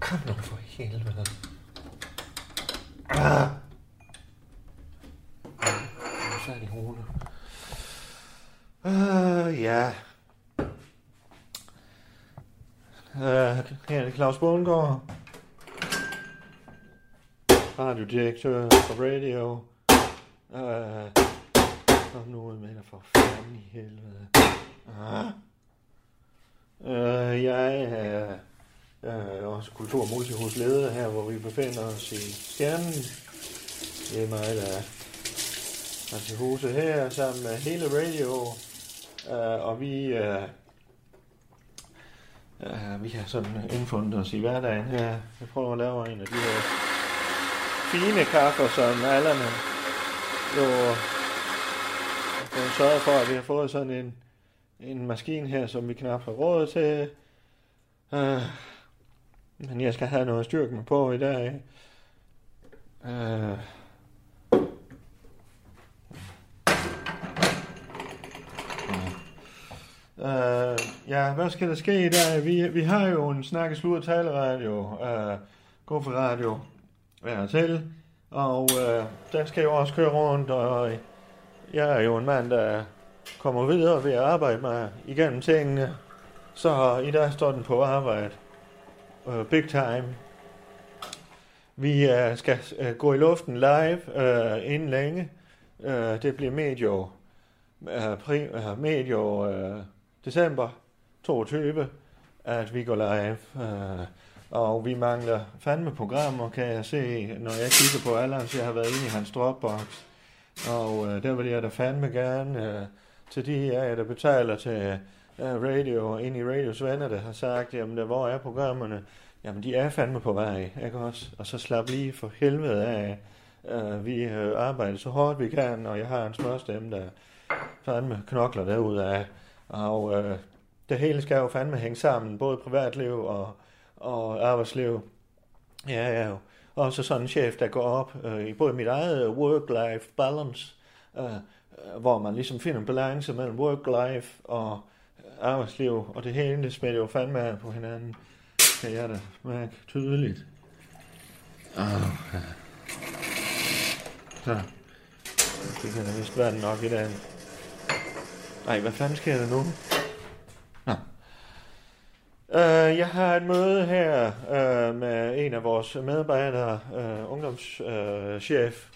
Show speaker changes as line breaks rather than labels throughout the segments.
Kom nu for helvede. Ah. Så er det hovedet. Ah, ja. Uh, her er det Claus Bundgaard. Radiodirektør for radio. Uh, kom nu ud med dig for fanden i helvede. Ah. Uh, jeg er... Uh, jeg er også kultur- og multihusleder her, hvor vi befinder os i Stjernen. Det er mig, der er til huset her, sammen med hele radio. Uh, og vi, uh, uh, vi har sådan indfundet os i hverdagen her. Jeg prøver at lave en af de her fine kaffer, som alderne jo har sørget for, at vi har fået sådan en, en maskine her, som vi knap har råd til. Uh, men jeg skal have noget at styrke mig på i dag. Øh. Øh, ja, hvad skal der ske i dag? Vi, vi har jo en snakkeslur taleradio, øh, god for radio, hver til. Og øh, den skal jo også køre rundt, og jeg er jo en mand, der kommer videre ved at arbejde mig igennem tingene. Så i dag står den på arbejde uh, big time. Vi uh, skal uh, gå i luften live uh, inden længe. Uh, det bliver medio, uh, pri, uh, medio uh, december 22, at vi går live. Uh, og vi mangler fandme programmer, kan jeg se, når jeg kigger på Allan, så jeg har været inde i hans Dropbox. Og øh, der vil jeg da fandme gerne øh, til de af jer, der betaler til øh, radio og ind i radios venner, der har sagt, jamen der, hvor er programmerne? Jamen de er fandme på vej, ikke også? Og så slap lige for helvede af. Øh, vi øh, arbejder så hårdt vi kan, og jeg har en smørstemme, der fandme knokler derudad. Og øh, det hele skal jo fandme hænge sammen, både privatliv og, og arbejdsliv. Ja, ja, jo. Og så sådan en chef, der går op øh, i både mit eget work-life balance, øh, øh, hvor man ligesom finder en balance mellem work-life og øh, arbejdsliv, og det hele det smitter jo fandme af på hinanden. Kan jeg da mærke tydeligt. Oh, ja. Så. Det kan da vist være nok i dag. Nej, hvad fanden sker der nu? Nå. Uh, jeg har et møde her uh, med en af vores medarbejdere, uh, ungdomschef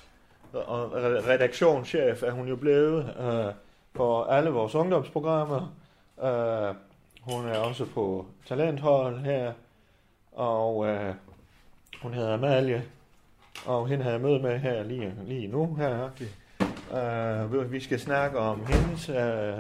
uh, og re- redaktionschef er hun jo blevet uh, for alle vores ungdomsprogrammer. Uh, hun er også på talenthold her, og uh, hun hedder Amalie, og hende har jeg møde med her lige, lige nu. Her. Uh, vi- vi skal snakke om hendes... Uh,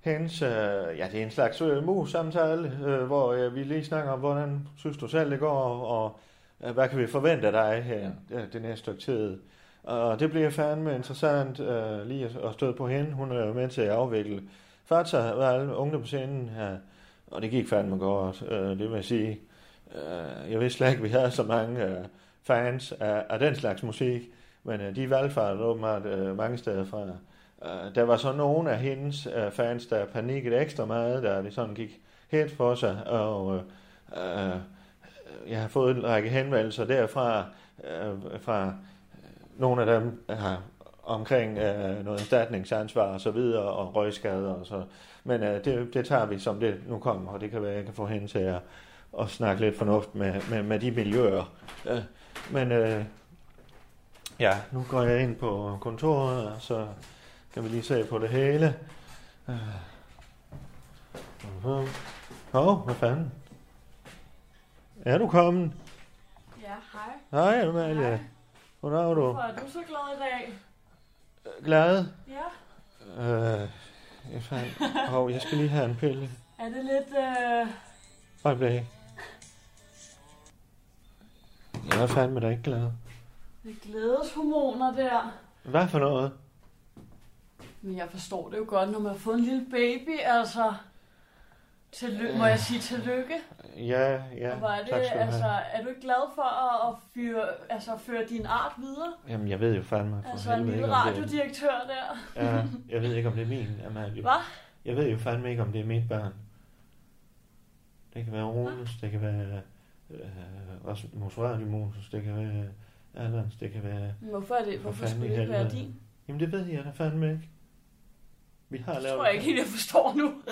hendes, øh, ja, det er en slags øh, mus-samtale, øh, hvor øh, vi lige snakker om, hvordan synes du selv det går, og, og øh, hvad kan vi forvente af dig her øh, det næste stykke tid. Og det bliver fandme interessant øh, lige at, at støde på hende. Hun er jo med til at afvikle Fakta var alle ungdomsscenen her, og det gik fandme godt, øh, det vil jeg sige. Øh, jeg vidste slet ikke, vi havde så mange øh, fans af, af den slags musik, men øh, de valgfartede åbenbart øh, mange steder fra. Øh, der var så nogle af hendes øh, fans, der panikkede ekstra meget, da det sådan gik helt for sig, og øh, øh, jeg har fået en række henvendelser derfra, øh, fra nogle af dem øh, har omkring øh, noget erstatningsansvar og så videre, og røgskader og så. Men øh, det, det tager vi som det nu kommer, og det kan være, jeg kan få hende til at, at snakke lidt fornuft med, med, med de miljøer. Øh, men øh, ja, nu går jeg ind på kontoret, og så kan vi lige se på det hele. oh, Øh. Mhm. Hov, hvad fanden? Er du kommet?
Ja, hej.
Hej Amalie. Hvordan er du?
Hvorfor er du så glad i dag?
Glad?
Ja.
Øh, jeg, fandt... Hov, jeg skal lige have en pille.
Er det lidt... Øh...
Øjeblik. Jeg er fandme da ikke glad.
lidt glædeshormoner der?
Hvad for noget?
Men jeg forstår det jo godt, når man har fået en lille baby, altså... Tilly- må jeg sige tillykke?
Ja, ja.
Og hvor er det,
tak skal du
altså,
have.
er du ikke glad for at, at fyre, altså, føre din art videre?
Jamen, jeg ved jo fandme for
Altså en
helvede
lille
ikke, om det er...
radiodirektør der.
Ja, jeg ved ikke, om det er min, Amalie.
Hvad?
Jeg ved jo fandme ikke, om det er mit barn. Det kan være Rones, det kan være øh, Rasmus Radiomusus, det kan være Allans, det kan være...
Men Hvorfor, er det,
For
hvorfor
fanden
skulle
i
det ikke være
helvede.
din?
Jamen, det ved jeg da fandme ikke. Vi har
Det
lavet...
tror jeg ikke helt, jeg forstår nu.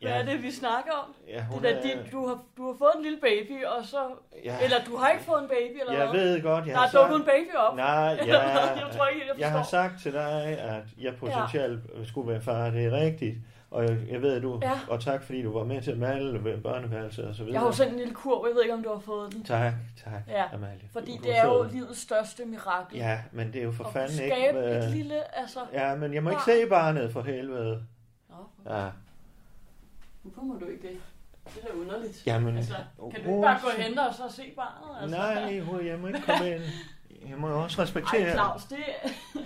Hvad
Ja.
er det, vi snakker om?
Ja,
Det
hun
er da
er...
din, du, har, du har fået en lille baby, og så...
Ja,
Eller du har ikke fået en baby, eller
jeg
hvad?
ved godt, jeg
Der
har
er dukket en baby op.
Nej,
Eller
ja,
hvad? jeg tror ikke, helt, jeg
jeg har
forstår.
sagt til dig, at jeg potentielt ja. skulle være far, det er rigtigt. Og jeg, jeg ved, at du...
Ja.
Og tak, fordi du var med til at male ved børneværelset og så
Jeg,
videre.
jeg har jo sendt en lille kurv, jeg ved ikke, om du har fået den.
Tak, tak,
Ja,
Amalie.
Fordi
Du
det er jo
sød.
livets største mirakel.
Ja, men det er jo for
At
fanden
kunne
ikke...
skabe
hvad-
et lille, altså...
Ja, men jeg må ikke
barn.
se barnet for helvede.
Nå,
Ja.
hvorfor må du ikke det? Det er da underligt.
Jamen,
Altså, kan du
Rose-
ikke bare gå hen og så se barnet? Altså?
Nej, hun- jeg må ikke komme ind. Jeg må jo også
Ej,
respektere...
Claus, det...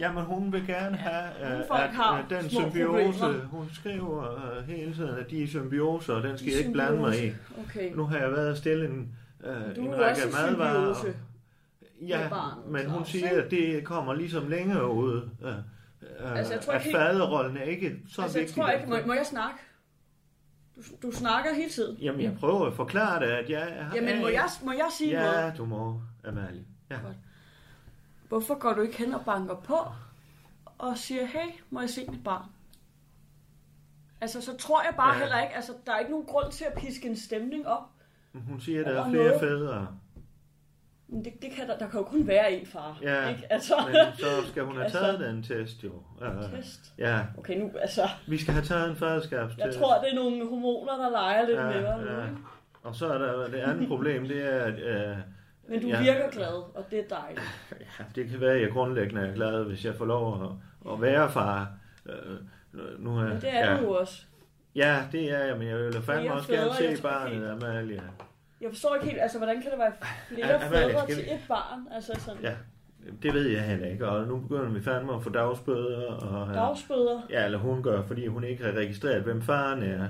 Jamen, hun vil gerne have,
Nogle
øh,
folk
at
har
øh, den
små
symbiose,
problemer.
hun skriver øh, hele tiden, at de er symbioser, og den skal
De
jeg ikke blande mig i.
Okay.
Nu har jeg været og stille en, øh,
Du
en
er
række
også i
madvarer. og-
symbiose
Ja,
med barnet,
men hun
Claus,
siger,
ikke?
at det kommer ligesom længere ud. Øh, øh,
Altså, jeg tror
at
ikke helt-
faderrollen er ikke så
altså, jeg
vigtig.
tror ikke... Må, må jeg snakke? Du, du snakker hele tiden.
Jamen, jeg prøver at forklare dig, at jeg er...
Jamen, må jeg, må jeg sige noget?
Ja, du må, Amalie. Ja.
Godt. Hvorfor går du ikke hen og banker på og siger, hey, må jeg se mit barn? Altså, så tror jeg bare
Ja.
ja. heller ikke, altså, der er ikke nogen grund til at piske en stemning op.
Hun siger, at der er
Over
flere
noget.
fædre.
Men det, det kan der, der kan jo kun være en far,
Ja,
ikke? Altså,
Men så skal hun have taget
Altså-
den test, jo. Øh,
test.
Ja,
Okay, nu, altså,
Vi skal have taget en faderskabstest.
jeg tror, det er nogle hormoner, der leger lidt ja, med dig.
ja,
nu,
ja.
ikke?
Og så er der det andet problem, det er, at øh,
Men du
Ja.
ja. virker glad, og det er dejligt.
ja, det kan være, at jeg grundlæggende er glad, hvis jeg får lov at, at være far. Øh, nu er,
Men det er
ja.
ja. du også.
Ja, det er jeg, men jeg vil da fandme
Flere
også gerne
fædre, jeg
se
tror
barnet,
helt.
Amalie.
Jeg forstår ikke helt, altså, hvordan kan der være flere
Ja, Amalie,
fædre
skal vi-
til et barn? Altså, sådan,
Ja.
ja.
Det ved jeg heller ikke, og nu begynder vi fandme at få dagsbøder. Og,
dagsbøder.
Ja, eller hun gør, fordi hun ikke har registreret, hvem faren er.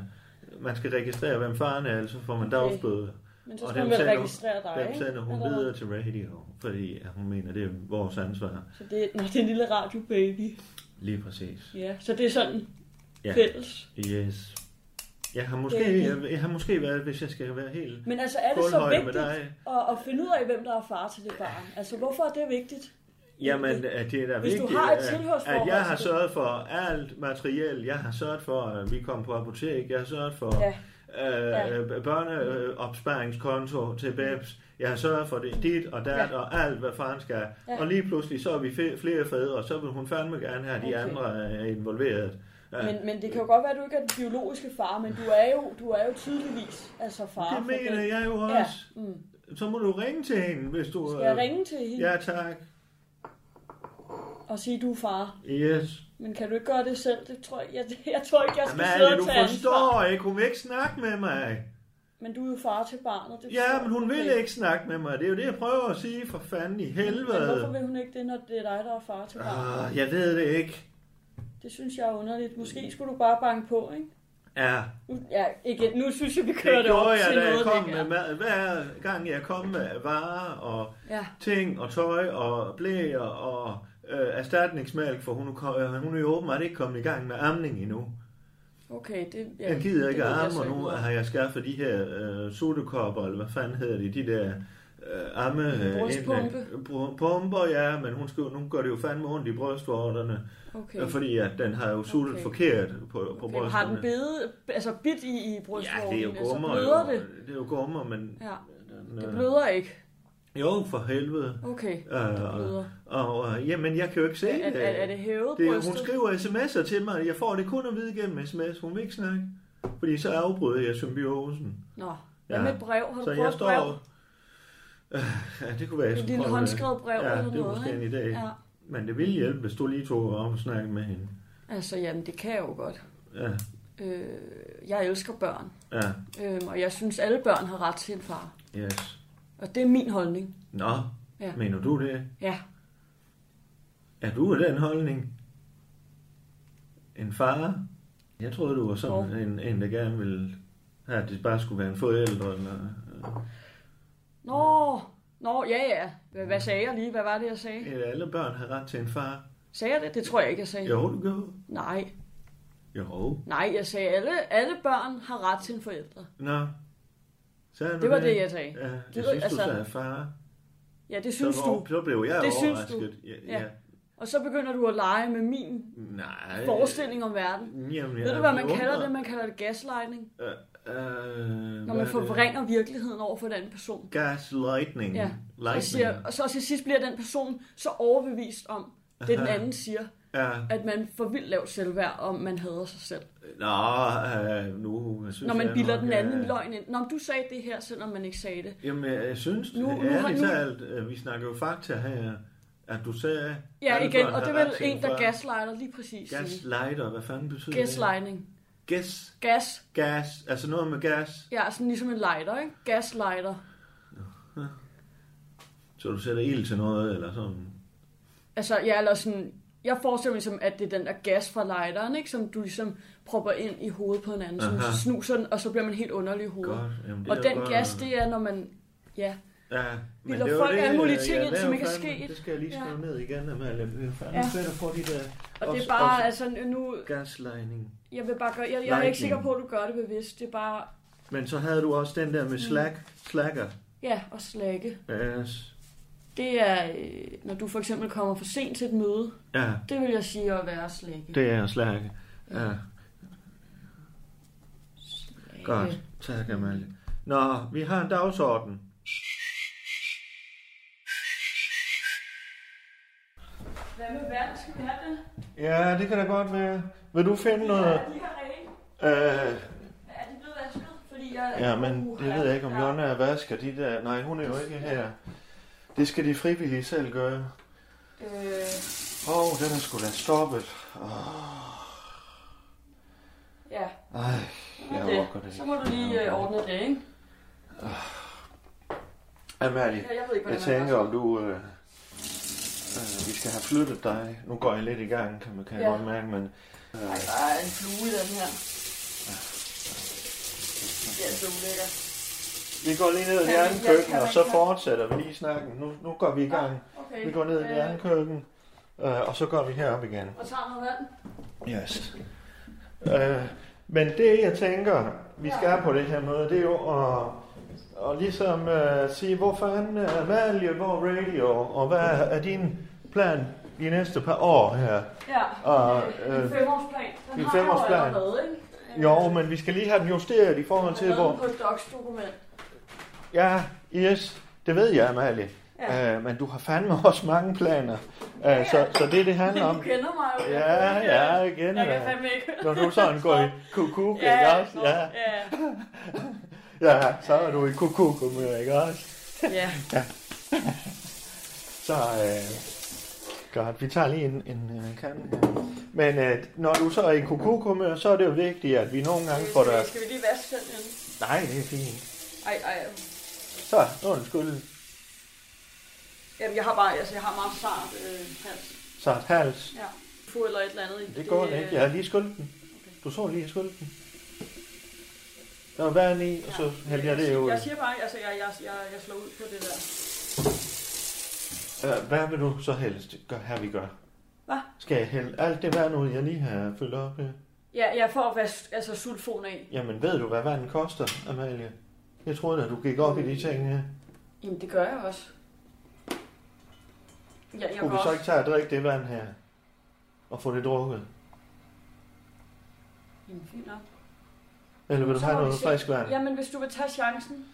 Man skal registrere, hvem faren er, ellers så får man
Okay.
dagsbøder.
Men så
Og
skal
dem
man vel
sender-
registrere dig,
Dem
ikke?
sender hun
Eller hvad?
videre til radio, fordi hun mener, det er vores ansvar.
Så det, nå, det er en lille radiobaby.
Lige præcis.
Ja, så det er sådan
Ja.
ja. fælles.
Yes. Jeg har måske,
Det-
jeg, jeg har måske været, hvis jeg skal være helt
Men altså, er det så
gulvhøjde med
vigtigt
dig.
at, at finde ud af, hvem der er far til det barn? Altså, hvorfor er det vigtigt?
Jamen, at det er da
Hvis du
vigtigt,
har et
at-
tilhørsforhold
at jeg har
til det.
sørget for alt materiel. Jeg har sørget for, at vi kom på apotek. Jeg har sørget for
Ja.
ja. øh, børneopsparingskonto til BEPS. Jeg har sørget for det, dit og dat ja.
Ja.
og alt, hvad faren skal. Ja.
Ja.
Og lige pludselig så er vi fe- flere fædre, og så vil hun fandme gerne have, at de
Okay.
andre er involveret. Ja.
Men, men det kan jo godt være, at du ikke er den biologiske far, men du er jo, du er jo tydeligvis altså far.
det
for
mener
den-
jeg jo også.
Ja. Mm.
Så må du ringe til hende, hvis du...
Skal jeg
øh,
ringe til hende ja.
Ja, tak.
og sige, du er far?
Yes.
Men kan du ikke gøre det selv? Det tror jeg, jeg, jeg tror ikke, jeg skal sidde
Amalie,
og
du
tage ansvar.
forstår ikke. Hun vil ikke snakke med mig.
Men du er jo far til barnet. Det forstår
Ja, men hun
jeg
vil ikke snakke med mig. Det er jo det, jeg prøver at sige. For fanden i
Men hvorfor
helvede.
vil hun ikke det, når det er dig, der er far til barnet?
Ah, jeg ved det ikke.
Det synes jeg er underligt.
Mm.
Måske skulle du bare banke på, ikke?
Ja,
Nu- Ja, igen, nu synes jeg, vi kører
det
det, op
gjorde jeg,
til
da jeg
noget,
kom
det
med mad. Hver gang jeg kom med varer og
Ja,
ting og tøj og blæer og øh, erstatningsmælk, for hun, er ko- øh, hun er jo åbenbart ikke kommet i gang med amning endnu.
okay. Det, ja,
Jeg gider ikke
det
at
ved jeg
amme,
så
og
ikke
nu
noget om.
har jeg skaffet de her øh, sodekopper, eller hvad fanden hedder de, de der øh, amme... Øh,
Brystpumpe.
indlæg- br- Pumper, ja, men hun skal, jo- nu gør det jo fandme ondt i brystvorterne,
Okay.
okay. fordi at den har jo suttet okay.
Okay.
forkert på, på
okay.
brystvorterne.
Har den bede, altså bidt i, i
Ja,
brystvorten?
det er jo
Så
gummer,
bløder
jo.
det.
det er jo gummer, men...
Ja,
Den,
det
øh,
bløder ikke.
Jo, for helvede.
Okay, det
Øh,
bløder.
og, øh, jamen, jeg kan jo ikke se
Er, er, er det hævet
det,
brystet?
hun skriver sms'er til mig, jeg får det kun at vide gennem sms, hun vil ikke snakke. Fordi så afbryder jeg symbiosen.
Nå, hvad
Ja.
med et brev? Har
Så
du prøvet
jeg
et brev?
står... Ja, det kunne være, jeg
Et
skulle
lille
prøve det.
håndskrevet brev
ja,
eller
det er
noget,
måske en
ikke?
idé.
Ja.
Men det ville hjælpe, hvis du lige tog om og snakkede med hende.
Altså, jamen, det kan jeg jo godt.
Ja,
Øh, jeg elsker børn,
ja,
øh, og jeg synes, alle børn har ret til en far.
yes.
Og det er min holdning.
Nå,
Ja.
mener du det?
Ja,
Er du af den holdning? En far? Jeg troede, du var sådan
Nå.
en, en, der gerne ville have, at det bare skulle være en forældre. Eller,
Nå, nå, ja, ja. Hvad, hvad sagde jeg lige? Hvad var det, jeg sagde?
eller alle børn har ret til en far.
Sagde jeg det? Det tror jeg ikke, jeg sagde.
Jo, det gør.
Nej,
Jo.
nej, jeg sagde, alle, alle børn har ret til en forældre.
Nå. Sagde du
Det var det, jeg sagde.
Ja, jeg
ved,
synes, du
altså-
sagde far.
Ja, det synes
så,
du.
Så blev jeg
Det synes
overrasket. Ja,
Ja.
ja. ja.
Og så begynder du at lege med min
Nej.
forestilling om verden.
Jamen, jeg
Ved du, hvad man kalder det? Man kalder det gaslighting.
Øh,
Når man forvrænger virkeligheden over for den anden person.
Gaslightning.
Ja,
Lightning.
Og, siger, og så til sidst bliver den person så overbevist om, det den anden siger,
Ja.
at man får vildt lavt selvværd, om man hader sig selv.
Nå, øh, nu jeg synes
Når man
jeg
bilder
nok,
den anden
øh,
løgn ind. Nå, men du sagde det her, selvom man ikke sagde det.
Jamen, øh, jeg synes,
Nu-
nu,
nu har-
ærligt
nu-
talt, øh, vi snakker jo fakta her, at du sagde...
Ja,
alle
igen,
børn
og
har
det er
ret
vel
til
en, der
far.
gaslighter lige præcis. sige.
Gaslighter, hvad fanden betyder
Gaslighting.
det? Gas,
Gas,
gas, altså noget med gas.
ja, sådan ligesom en lighter, ikke? Gaslighter.
Så du sætter ild til noget, eller sådan.
Altså, ja, eller sådan, jeg forestiller mig som, at det er den der gas fra lighteren, ikke? Som du ligesom propper ind i hovedet på en anden, som
Aha.
snuser den, og så bliver man helt underlig i hovedet.
Godt, jamen, det
Uh. Og
er
den
godt.
gas, det er, når man, ja,
Ja,
Bilder folk
øh,
alle mulige ting ind, som ikke er sket.
sket. Det skal jeg lige
Ja.
skrive ja. ned igen, at man lader fandme
Ja.
fedt at få de der
og det
Også-
er bare,
også-
altså nu,
gaslighting.
jeg vil bare gøre, jeg, jeg er ikke
Lightning.
sikker på, at du gør det bevidst, det er bare,
Men så havde du også den der med
Mm.
slack, slacker. Øh,
ja, at slække.
Yes.
Det er, øh, når du for eksempel kommer for sent til et møde,
Ja,
det vil jeg sige at være at slække.
det er slack. Ja,
Øh,
godt. Tak, Amalie. Nå, vi har en dagsorden.
Hvad med vand? Skal vi have det?
Ja, det kan da godt være. Vil du finde noget?
Er de her rene?
Øh,
Er de blevet vasket? Fordi jeg...
ja, men
Uha,
det ved jeg ikke, om
ja.
Jonna vasker de der... Nej, hun er jo ikke her. Det skal de frivillige selv gøre.
Øh,
Åh, oh, den er sgu da stoppet.
ja,
Ej,
men
jeg orker det
det. Så må du lige øh, ordne det, ikke?
Amalie,
Ja, jeg ved ikke,
Jeg
hvordan man
tænker,
gør
om du... Øh, øh, vi skal have flyttet dig. Nu går jeg lidt i gang, kan, man- kan jeg
Ja.
godt mærke, men... øh,
sådan. Ej, der er en flue i den her. Det er så ulækkert.
Vi går lige ned i
Kan
det
vi-
andet
ja,
køkken,
kan
og
man-
så
kan-
fortsætter vi lige snakken. Nu, nu går vi i gang.
Okay.
Vi går ned i det andet køkken, øh, og så går vi herop igen.
Og tager noget vand.
Yes. Øh, men det, jeg tænker, vi skal på det her møde, det er jo at, at ligesom øh, sige, hvor fanden er Amalie, hvor er radio, og hvad er din plan de næste par år her?
Ja,
Og,
øh, en
øh,
femårsplan. Den
en
har
femårsplan.
jeg jo allerede, ikke? Øh,
Jo, men vi skal lige have den justeret i forhold til, hvor...
på et docs-dokument.
Ja, yes, det ved jeg, Amalie.
Ja.
Ja. Øh, men du har fandme også mange planer. Øh, så, så det, det handler
Men du
om...
kender mig jo.
Ja, ja, igen.
Jeg kan
ja.
fandme ikke.
Når du sådan går i kukuk, ikke
ja,
også? Ja,
ja.
ja, så er du i kukuk, ikke også?
ja.
Så, øh, godt, vi tager lige en, en, en kan. Men øh, når du så er i kukuk, så er det jo vigtigt, at vi nogle gange får dig...
Skal vi lige vaske den inden?
Nej, det er fint.
Ej, ej.
Så, undskyld.
Jamen, jeg har bare, altså, jeg har meget sart øh, hals.
Så et hals.
Ja. Fod eller et eller andet. i.
Det går
øh,
det, ikke. Jeg har lige skyldt den. Du så lige, jeg skyldte den. Der var vand i, og så hældte jeg det ud.
Jeg siger bare, altså, jeg, jeg, jeg, jeg slår ud på det der.
Øh, Hvad vil du så helst gøre, her vi gør?
Hvad?
Skal jeg hælde alt det vand ud, jeg lige har fyldt op her?
Ja, jeg får vask, altså sulfon af.
Jamen, ved du, hvad vand koster, Amalie? Jeg troede da, du gik op i de ting her.
Jamen, det gør jeg også. Ja, jeg
Kunne
går
vi så
også.
ikke tage og drikke det vand her? Og få det drukket?
Jamen, fint nok.
Eller vil du
Så
have
må vi
noget
se.
frisk vand?
Jamen, hvis du vil tage chancen.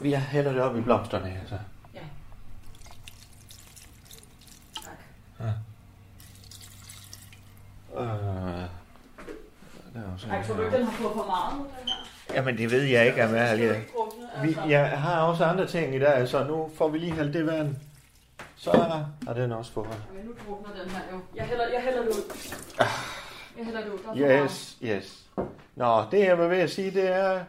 Vi hælder det op i blomsterne her, så.
Tak.
Øh, der er også
Ej, tror du ikke, den har fået for meget? Den her?
Jamen, det ved jeg ikke,
Den skal jo
Amalie.
ikke altså? drukne,
Vi, jeg har også andre ting i dag, så nu får vi lige hældt det vand. Så er der. Og den er også for.
Okay, nu drukner den her jo. Jeg hælder, jeg hælder det ud. Jeg hælder det ud. Der er for
Ah. Yes, yes. Nå, det jeg var ved at sige, det er,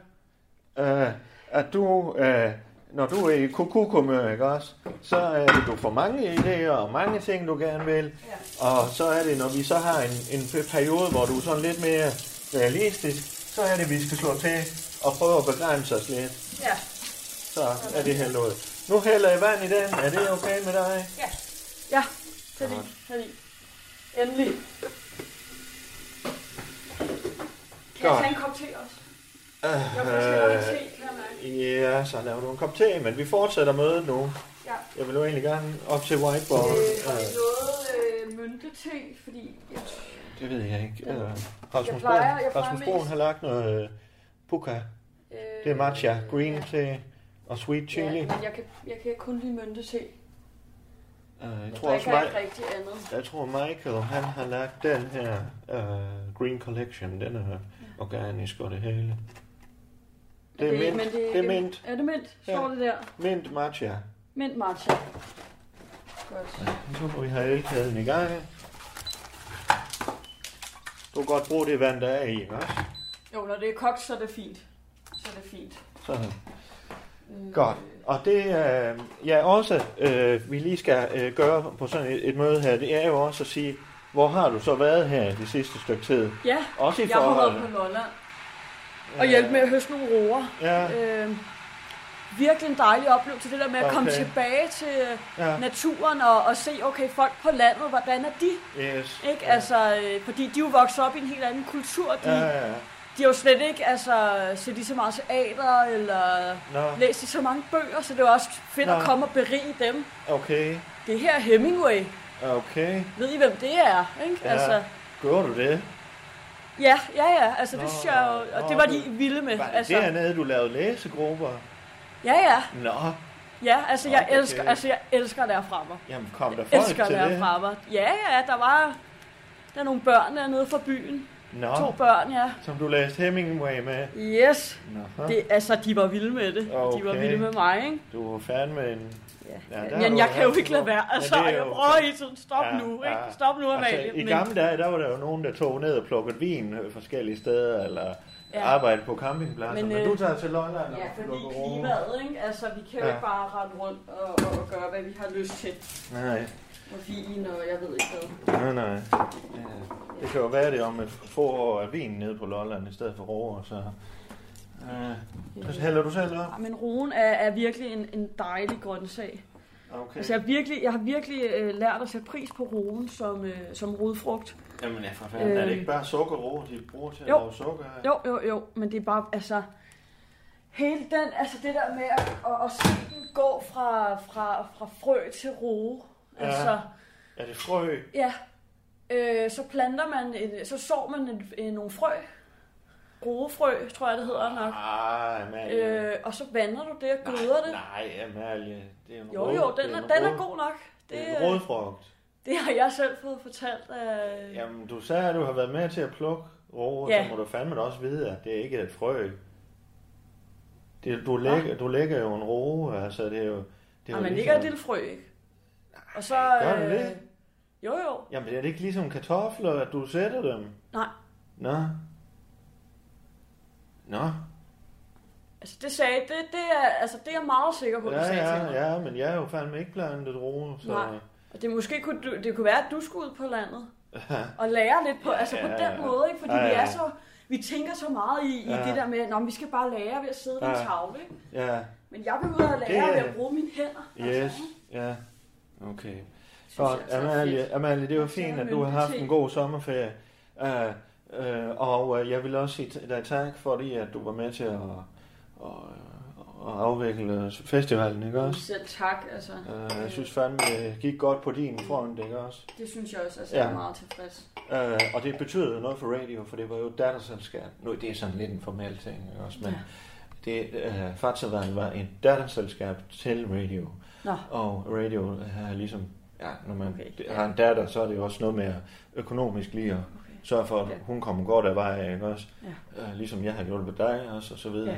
øh, at du, øh, når du er i kukukumør, ikke også, så er det, du får mange idéer og mange ting, du gerne vil.
Ja.
Og så er det, når vi så har en, en periode, hvor du er sådan lidt mere realistisk, så er det, vi skal slå til og prøve at begrænse os lidt.
meget. Ja,
Så er det her ud. Nu hælder jeg vand i den. Er det okay med dig?
ja. Ja, tag i, tag i. Endelig. Kan jeg
Godt.
tage en kop te også?
Øh,
Jeg får slet ikke te, kan jeg mærke.
ja, så laver du en kop te, men vi fortsætter mødet nu.
Ja.
Jeg vil jo egentlig gerne op til whiteboard.
Øh, har
Øh,
I noget øh, myntete? Fordi jeg,
det ved jeg ikke. Øh, Rasmus Brun,
plejer- jeg plejer
Rasmus Brun
mest-
har lagt noget øh, puka.
øh,
Det er matcha, green
ja.
te og sweet chili.
Ja, men jeg kan, jeg kan kun lide myntete.
Øh, jeg
Jeg
tror også,
drikker ikke
Mike,
rigtig andet.
jeg tror Michael, han har lagt den her øh, green collection. Den er organisk og det hele. Det er mint. Det er mint.
Er det mint?
Ja.
Står det der?
Mint matcha.
Mint matcha. Godt.
Så må vi have elkæden i gang. Du kan godt bruge det vand, der er i, ikke også?
Jo, når det er kogt, så er det fint. Så er det fint.
Sådan.
Mm.
Godt. Og det, øh, jeg også, øh, vi lige skal øh, gøre på sådan et, et møde her, det er jo også at sige, hvor har du så været her det sidste stykke tid?
Ja,
Også i
jeg har
forhold...
været på Lolland og hjælpe med at høste nogle roer.
Ja,
Øh, virkelig en dejlig oplevelse, det der med at komme
Okay.
tilbage til øh,
ja,
naturen og, og se, okay, folk på landet, hvordan er de?
yes.
Ikke? Altså, øh, fordi de er jo vokset op i en helt anden kultur. De,
Ja, ja, ja.
de har jo slet ikke altså, set lige så meget teater, eller
Nå,
læst i så mange bøger, så det var også fedt
Nå.
at komme og berige dem.
okay,
Det her er Hemingway,
okay.
ved I hvem det er? Ikke?
Ja.
Altså,
Gjorde du det?
ja, ja, ja, altså det
Nå,
synes jeg jo, og
nå,
det var
det-
de vilde med.
Var det
altså,
dernede, du lavede læsegrupper?
ja, ja,
Nå,
ja, altså
Nå,
jeg
okay.
elsker, altså jeg elsker at lære fra mig.
jamen kom der
Jeg
folk
elsker
til
at lære
det?
fra mig. Ja, ja, der var, der er nogle børn dernede fra byen. To
Nå,
børn, ja.
som du læste Hemingway med?
Yes.
Nå,
Det, altså, de var vilde med det. De var
Okay.
vilde med mig, ikke?
du var fandme en Ja, der
Ja,
har
men
du
jeg
været
kan jo
rigtig
ikke lade
god.
være.
Ja,
Altså,
det er
jeg
jo-
prøver hele tiden, stop
Ja,
nu,
ja.
ikke? Stop nu, Amalie.
Altså, I
men-
gamle dage, der var der jo nogen, der tog ned og plukkede vin øh, forskellige steder, eller ja.
Ja.
arbejdede på campingpladser. Men,
Men,
øh, Men
øh,
du tager til Lolland
Ja,
og
fordi
plukker roer.
klimaet, ikke? Altså, vi kan jo
Ja.
ikke bare rende rundt og, og gøre, hvad vi har lyst til.
Nej,
Og vin og jeg ved ikke hvad.
nej, nej. Ja. Det kan jo være det om et få år af vin nede på Lolland i stedet for roer, så... Øh, så hælder du selv op?
Ja, men roen er, er virkelig en, en dejlig grøntsag.
Okay.
Altså, jeg, har virkelig, jeg har virkelig øh, lært at sætte pris på roen som, øh, som rodfrugt.
Jamen, ja, for fanden, er det
Øh.
ikke bare sukkerroer, de bruger til at
Jo.
lave sukker? af?
Jo, jo, jo, men det er bare, altså... Hele den, altså det der med at, at, at se den gå fra, fra, fra frø til roe.
Ja.
Altså,
Er det frø?
ja. Øh, så planter man, en, så sår man en, en, nogle frø. Roefrø, tror jeg det hedder nok.
Ah, Amalie.
Øh, og så vander du det og gøder det.
Nej, Amalie. Det er en
Jo,
rød-
jo, den
det
er,
en
den
rød-
er god nok. Det,
Det er en
øh,
rødfrugt.
det har jeg selv fået fortalt. Øh,
Jamen, du sagde, at du har været med til at plukke roer, ja.
Ja.
så må du fandme da også vide, at det ikke er et frø. Det, du, lægger, du lægger jo en roe, altså det er jo... Det er jo ligesom-
og man ligger et lille frø, ikke? Og så... øh,
gør den det?
Jo, jo.
Jamen, er det ikke ligesom kartofler, at du sætter dem?
Nej,
Nå? Nå?
altså det sagde... Det, det, er, altså, det er jeg meget sikker på, du
Ja,
sagde til mig.
ja, ja, men jeg er jo fandme ikke plantet roe, så...
Nej. Og det måske kunne, du- det kunne være, at du skulle ud på landet og lære lidt på, altså på
Ja, ja,
den
ja.
måde, ikke? Fordi
Ja,
vi
ja.
er så... Vi tænker så meget i, i
Ja.
det der med, at vi skal bare lære ved at sidde ved en
Ja.
tavle, ikke?
Ja,
Men jeg vil ud og lære
Det er-
ved at bruge mine hænder. altså,
yes, ja. Okay.
synes jeg
Godt,
altså er fedt.
Amalie, Amalie, det var fint, at du har haft en
Myndighed.
god sommerferie. Uh, uh, og uh, jeg vil også sige t- dig tak, fordi at du var med til at, at, at afvikle festivalen, ikke også?
Selv tak, altså.
Uh, jeg synes fandme, det gik godt på din front, ikke også?
Det synes jeg også, altså,
Ja.
jeg er meget tilfreds.
Uh, og det betød jo noget for radio, for det var jo et datterselskab. Nu det er sådan lidt en formel ting, ikke også? Men
Ja.
det, uh, Fatsavand var et datterselskab til radio.
Nå,
Og radio er ligesom, ja, når man
Okay,
okay.
ja.
har en datter, så er det jo også noget med at økonomisk lige at
okay.
sørge for, at
Ja.
hun kommer godt af vej, ikke også? Ja. Øh, ligesom jeg har hjulpet dig også, og så videre.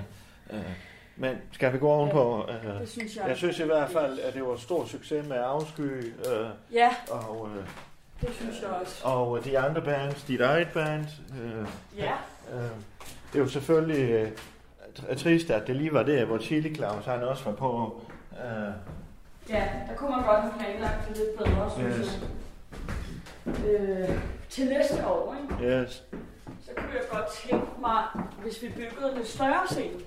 Ja. Øh, Men skal vi gå ovenpå? Øh,
Det synes jeg.
jeg synes i hvert fald, at det var et stort succes med Afsky øh,
Ja,
og, øh,
det synes jeg også.
og de andre bands, dit eget band. Øh,
Ja,
Øh, det er jo selvfølgelig øh, tr- trist, at det lige var der, hvor Chili Claus han også var på. Øh,
ja der kunne man godt have planlagt det lidt bedre, synes
Yes.
jeg. Øh, til næste år, ikke?
yes.
så kunne jeg godt tænke mig, hvis vi byggede en lidt større scene.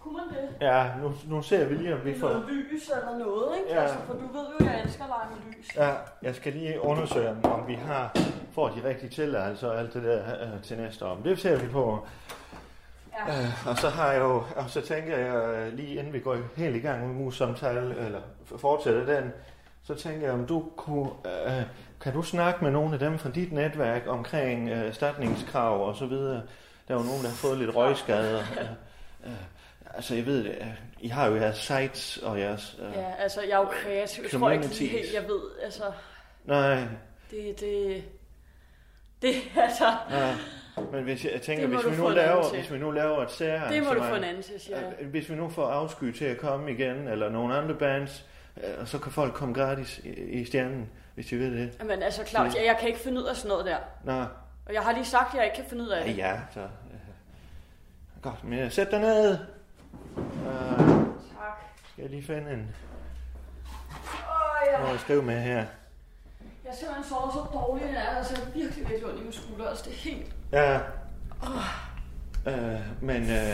Kunne man det?
Ja, nu, nu ser vi lige, om vi
Med noget
får...
lys eller noget, ikke?
Ja.
Altså, for du ved jo, jeg elsker at lege med lys.
Ja, jeg skal lige undersøge, om- om vi har får de rigtige tilladelser og alt det der øh, til næste år. Men det ser vi på.
Ja.
Øh, og så har jeg jo, og så tænker jeg øh, lige inden vi går helt i gang med mus-samtale, eller f- fortsætter den, så tænker jeg, om du kunne, øh, kan du snakke med nogle af dem fra dit netværk omkring øh, erstatningskrav og så videre? Der er jo nogen, der har fået lidt røgskader. Øh, øh, altså, jeg ved, det, øh, I har jo jeres sites og jeres... Øh,
ja, altså, jeg er jo kreativ. Jeg tror ikke lige
Communities.
helt, jeg ved. Altså,
Nej,
det, det, det, altså,
nej. Men hvis jeg, jeg tænker,
Det må
hvis vi,
du
nu
få en anden
laver,
til.
hvis vi nu laver et særligt...
det må du få en anden til, siger jeg.
Øh, Hvis vi nu får afsky til at komme igen, eller nogle andre bands, øh, og så kan folk komme gratis i, i stjernen, hvis de ved det.
Men altså, Claus, jeg, jeg kan ikke finde ud af sådan noget der.
Nå,
Og jeg har lige sagt, at jeg ikke kan finde ud af
ja,
det.
ja så... øh, Godt, men øh, sæt dig ned. Øh,
Tak.
skal jeg lige finde en,
Åh, ja.
noget at skrive med her.
Jeg er simpelthen sovet så dårligt, at jeg er altså virkelig, virkelig ondt i min skulder. Altså, det er helt...
Ja. Øh, men, øh,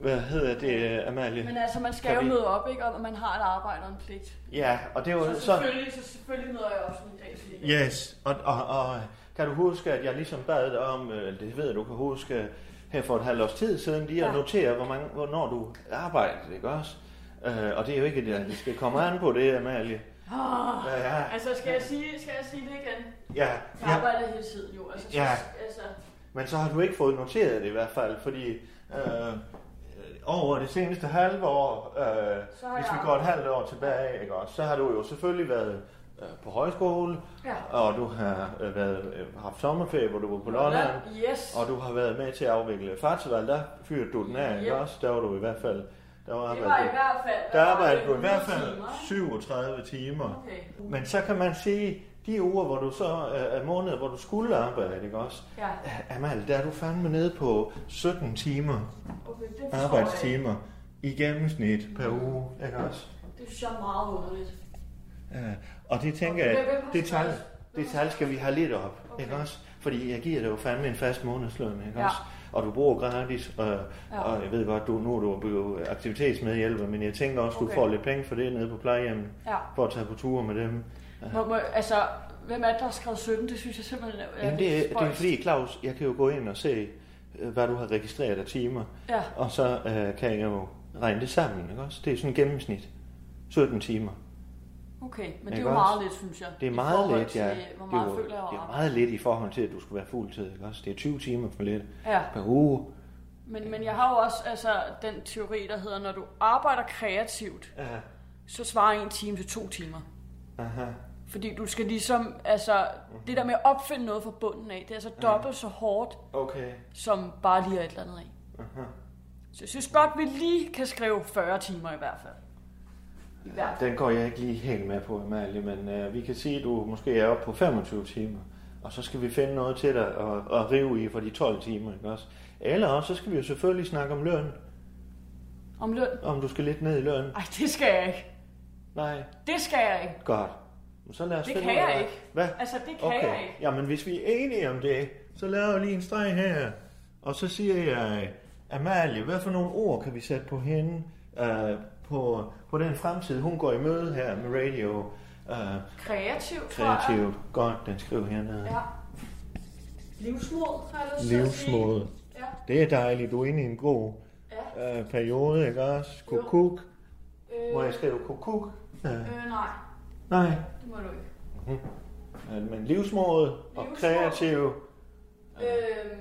hvad hedder det, øh, Amalie?
Men altså, man skal
Kan
jo
vi-
møde op, ikke? Og man har et arbejde og en pligt.
Ja, og det er jo
Så
sådan...
selvfølgelig, så selvfølgelig møder jeg også en dag til.
Yes, og, og, og kan du huske, at jeg ligesom bad dig om, øh, det ved jeg, du kan huske, her for et halvt års tid siden, lige at
Ja.
notere, hvor mange, hvornår du arbejder, ikke også? Øh, og det er jo ikke, at det skal komme an på det, Amalie.
Oh,
Ja, ja,
altså, skal jeg, sige, skal jeg sige det igen?
ja,
Jeg
ja,
arbejder hele tiden jo. Altså, så,
Ja.
altså,
men så har du ikke fået noteret det i hvert fald, fordi øh, over det seneste halve år, øh,
så har
hvis
jeg...
vi går et halvt år tilbage, ikke også, så har du jo selvfølgelig været øh, på højskole,
Ja.
og du har øh, været, øh, haft sommerferie, hvor du var på Lolland,
Yes.
Og du har været med til at afvikle Fartsvalg, der fyrte du den af, ikke
Yep.
også? Der var du i hvert fald... Der, var
Det var i
arbejdede du,
hvert fald...
der arbejdede du i hvert
100
fald
timer, ikke?
37 timer.
Okay.
Men så kan man sige, de uger, hvor du så øh, er måneder, hvor du skulle arbejde, ikke også?
Ja,
Øh, Amal, der er du fandme nede på 17 timer,
okay. Det Mm. forstår jeg. ikke.
arbejdstimer, i gennemsnit per uge, ikke også?
Det synes jeg er meget underligt.
Øh, og det tænker jeg,
Hvem- hvem har
det tal,
skrevet- hvem
det
har
tal skal vi have lidt op, okay.
Okay.
ikke også? Fordi jeg giver dig jo fandme en fast månedsløn, ikke
Ja.
også? Og du bor gratis, øh,
Ja.
og jeg ved godt, du, nu er du blevet aktivitetsmedhjælper, men jeg tænker også, du
Okay.
får lidt penge for det nede på plejehjemmet,
Ja.
for at tage på ture med dem.
Må, må, altså, hvem er det, der har skrevet 17? Det synes jeg simpelthen er,
Jamen det, er- det er
spøjst.
fordi, Claus, jeg kan jo gå ind og se, øh, hvad du har registreret af timer,
Ja,
og så øh, kan jeg jo regne det sammen, ikke også? Det er sådan gennemsnit. 17 timer.
okay. Men det er
Ikke
jo
også?
meget lidt, synes jeg.
Det er
i
meget
forhold
lidt, ja.
til, Hvor
Det er
meget
jo-
føler jeg,
Det
jeg
er
har
meget lidt i forhold til, at du skal være fuldtid, ikke også? Det er 20 timer for lidt
arbejdet. Ja.
per uge.
Men, men jeg har jo også altså, den teori, der hedder, når du arbejder kreativt,
Ja,
så svarer en time til to timer.
aha.
Fordi du skal ligesom, altså,
Mhm.
det der med at opfinde noget fra bunden af, det er altså dobbelt så hårdt,
Okay,
som bare lige at et eller andet af.
aha.
Så jeg synes godt, vi lige kan skrive 40 timer i hvert fald. I hvert fald.
Den går jeg ikke lige helt med på, Amalie, men øh, vi kan sige, at du måske er oppe på 25 timer. Og så skal vi finde noget til dig at, at rive i for de 12 timer, ikke også? Eller også, så skal vi jo selvfølgelig snakke om løn.
Om løn?
Om du skal lidt ned i løn.
Ej, det skal jeg ikke.
Nej,
Det skal jeg ikke.
godt. Men Så lad os
Det
finde
kan
ud af-
jeg ikke.
Hvad?
Altså, det kan
Okay,
jeg ikke.
jamen hvis vi er enige om det, så laver jeg lige en streg her. Og så siger jeg, Amalie, hvad for nogle ord kan vi sætte på hende øh, på, på den fremtid, hun går i møde her med radio? Øh,
Kreativt, tror jeg.
kreativt. Godt, den skriver hernede.
Ja. Livsmod, har jeg lyst til at sige.
Livsmåde.
Ja,
Det er dejligt, du er inde i en god
ja.
øh, periode, ikke også? Kukuk.
Øh,
Må jeg skrive kukuk? Øh,
øh, nej,
nej.
det må du ikke.
Øh, Men livsmåde og
Livsmåde.
kreativ.
Øh,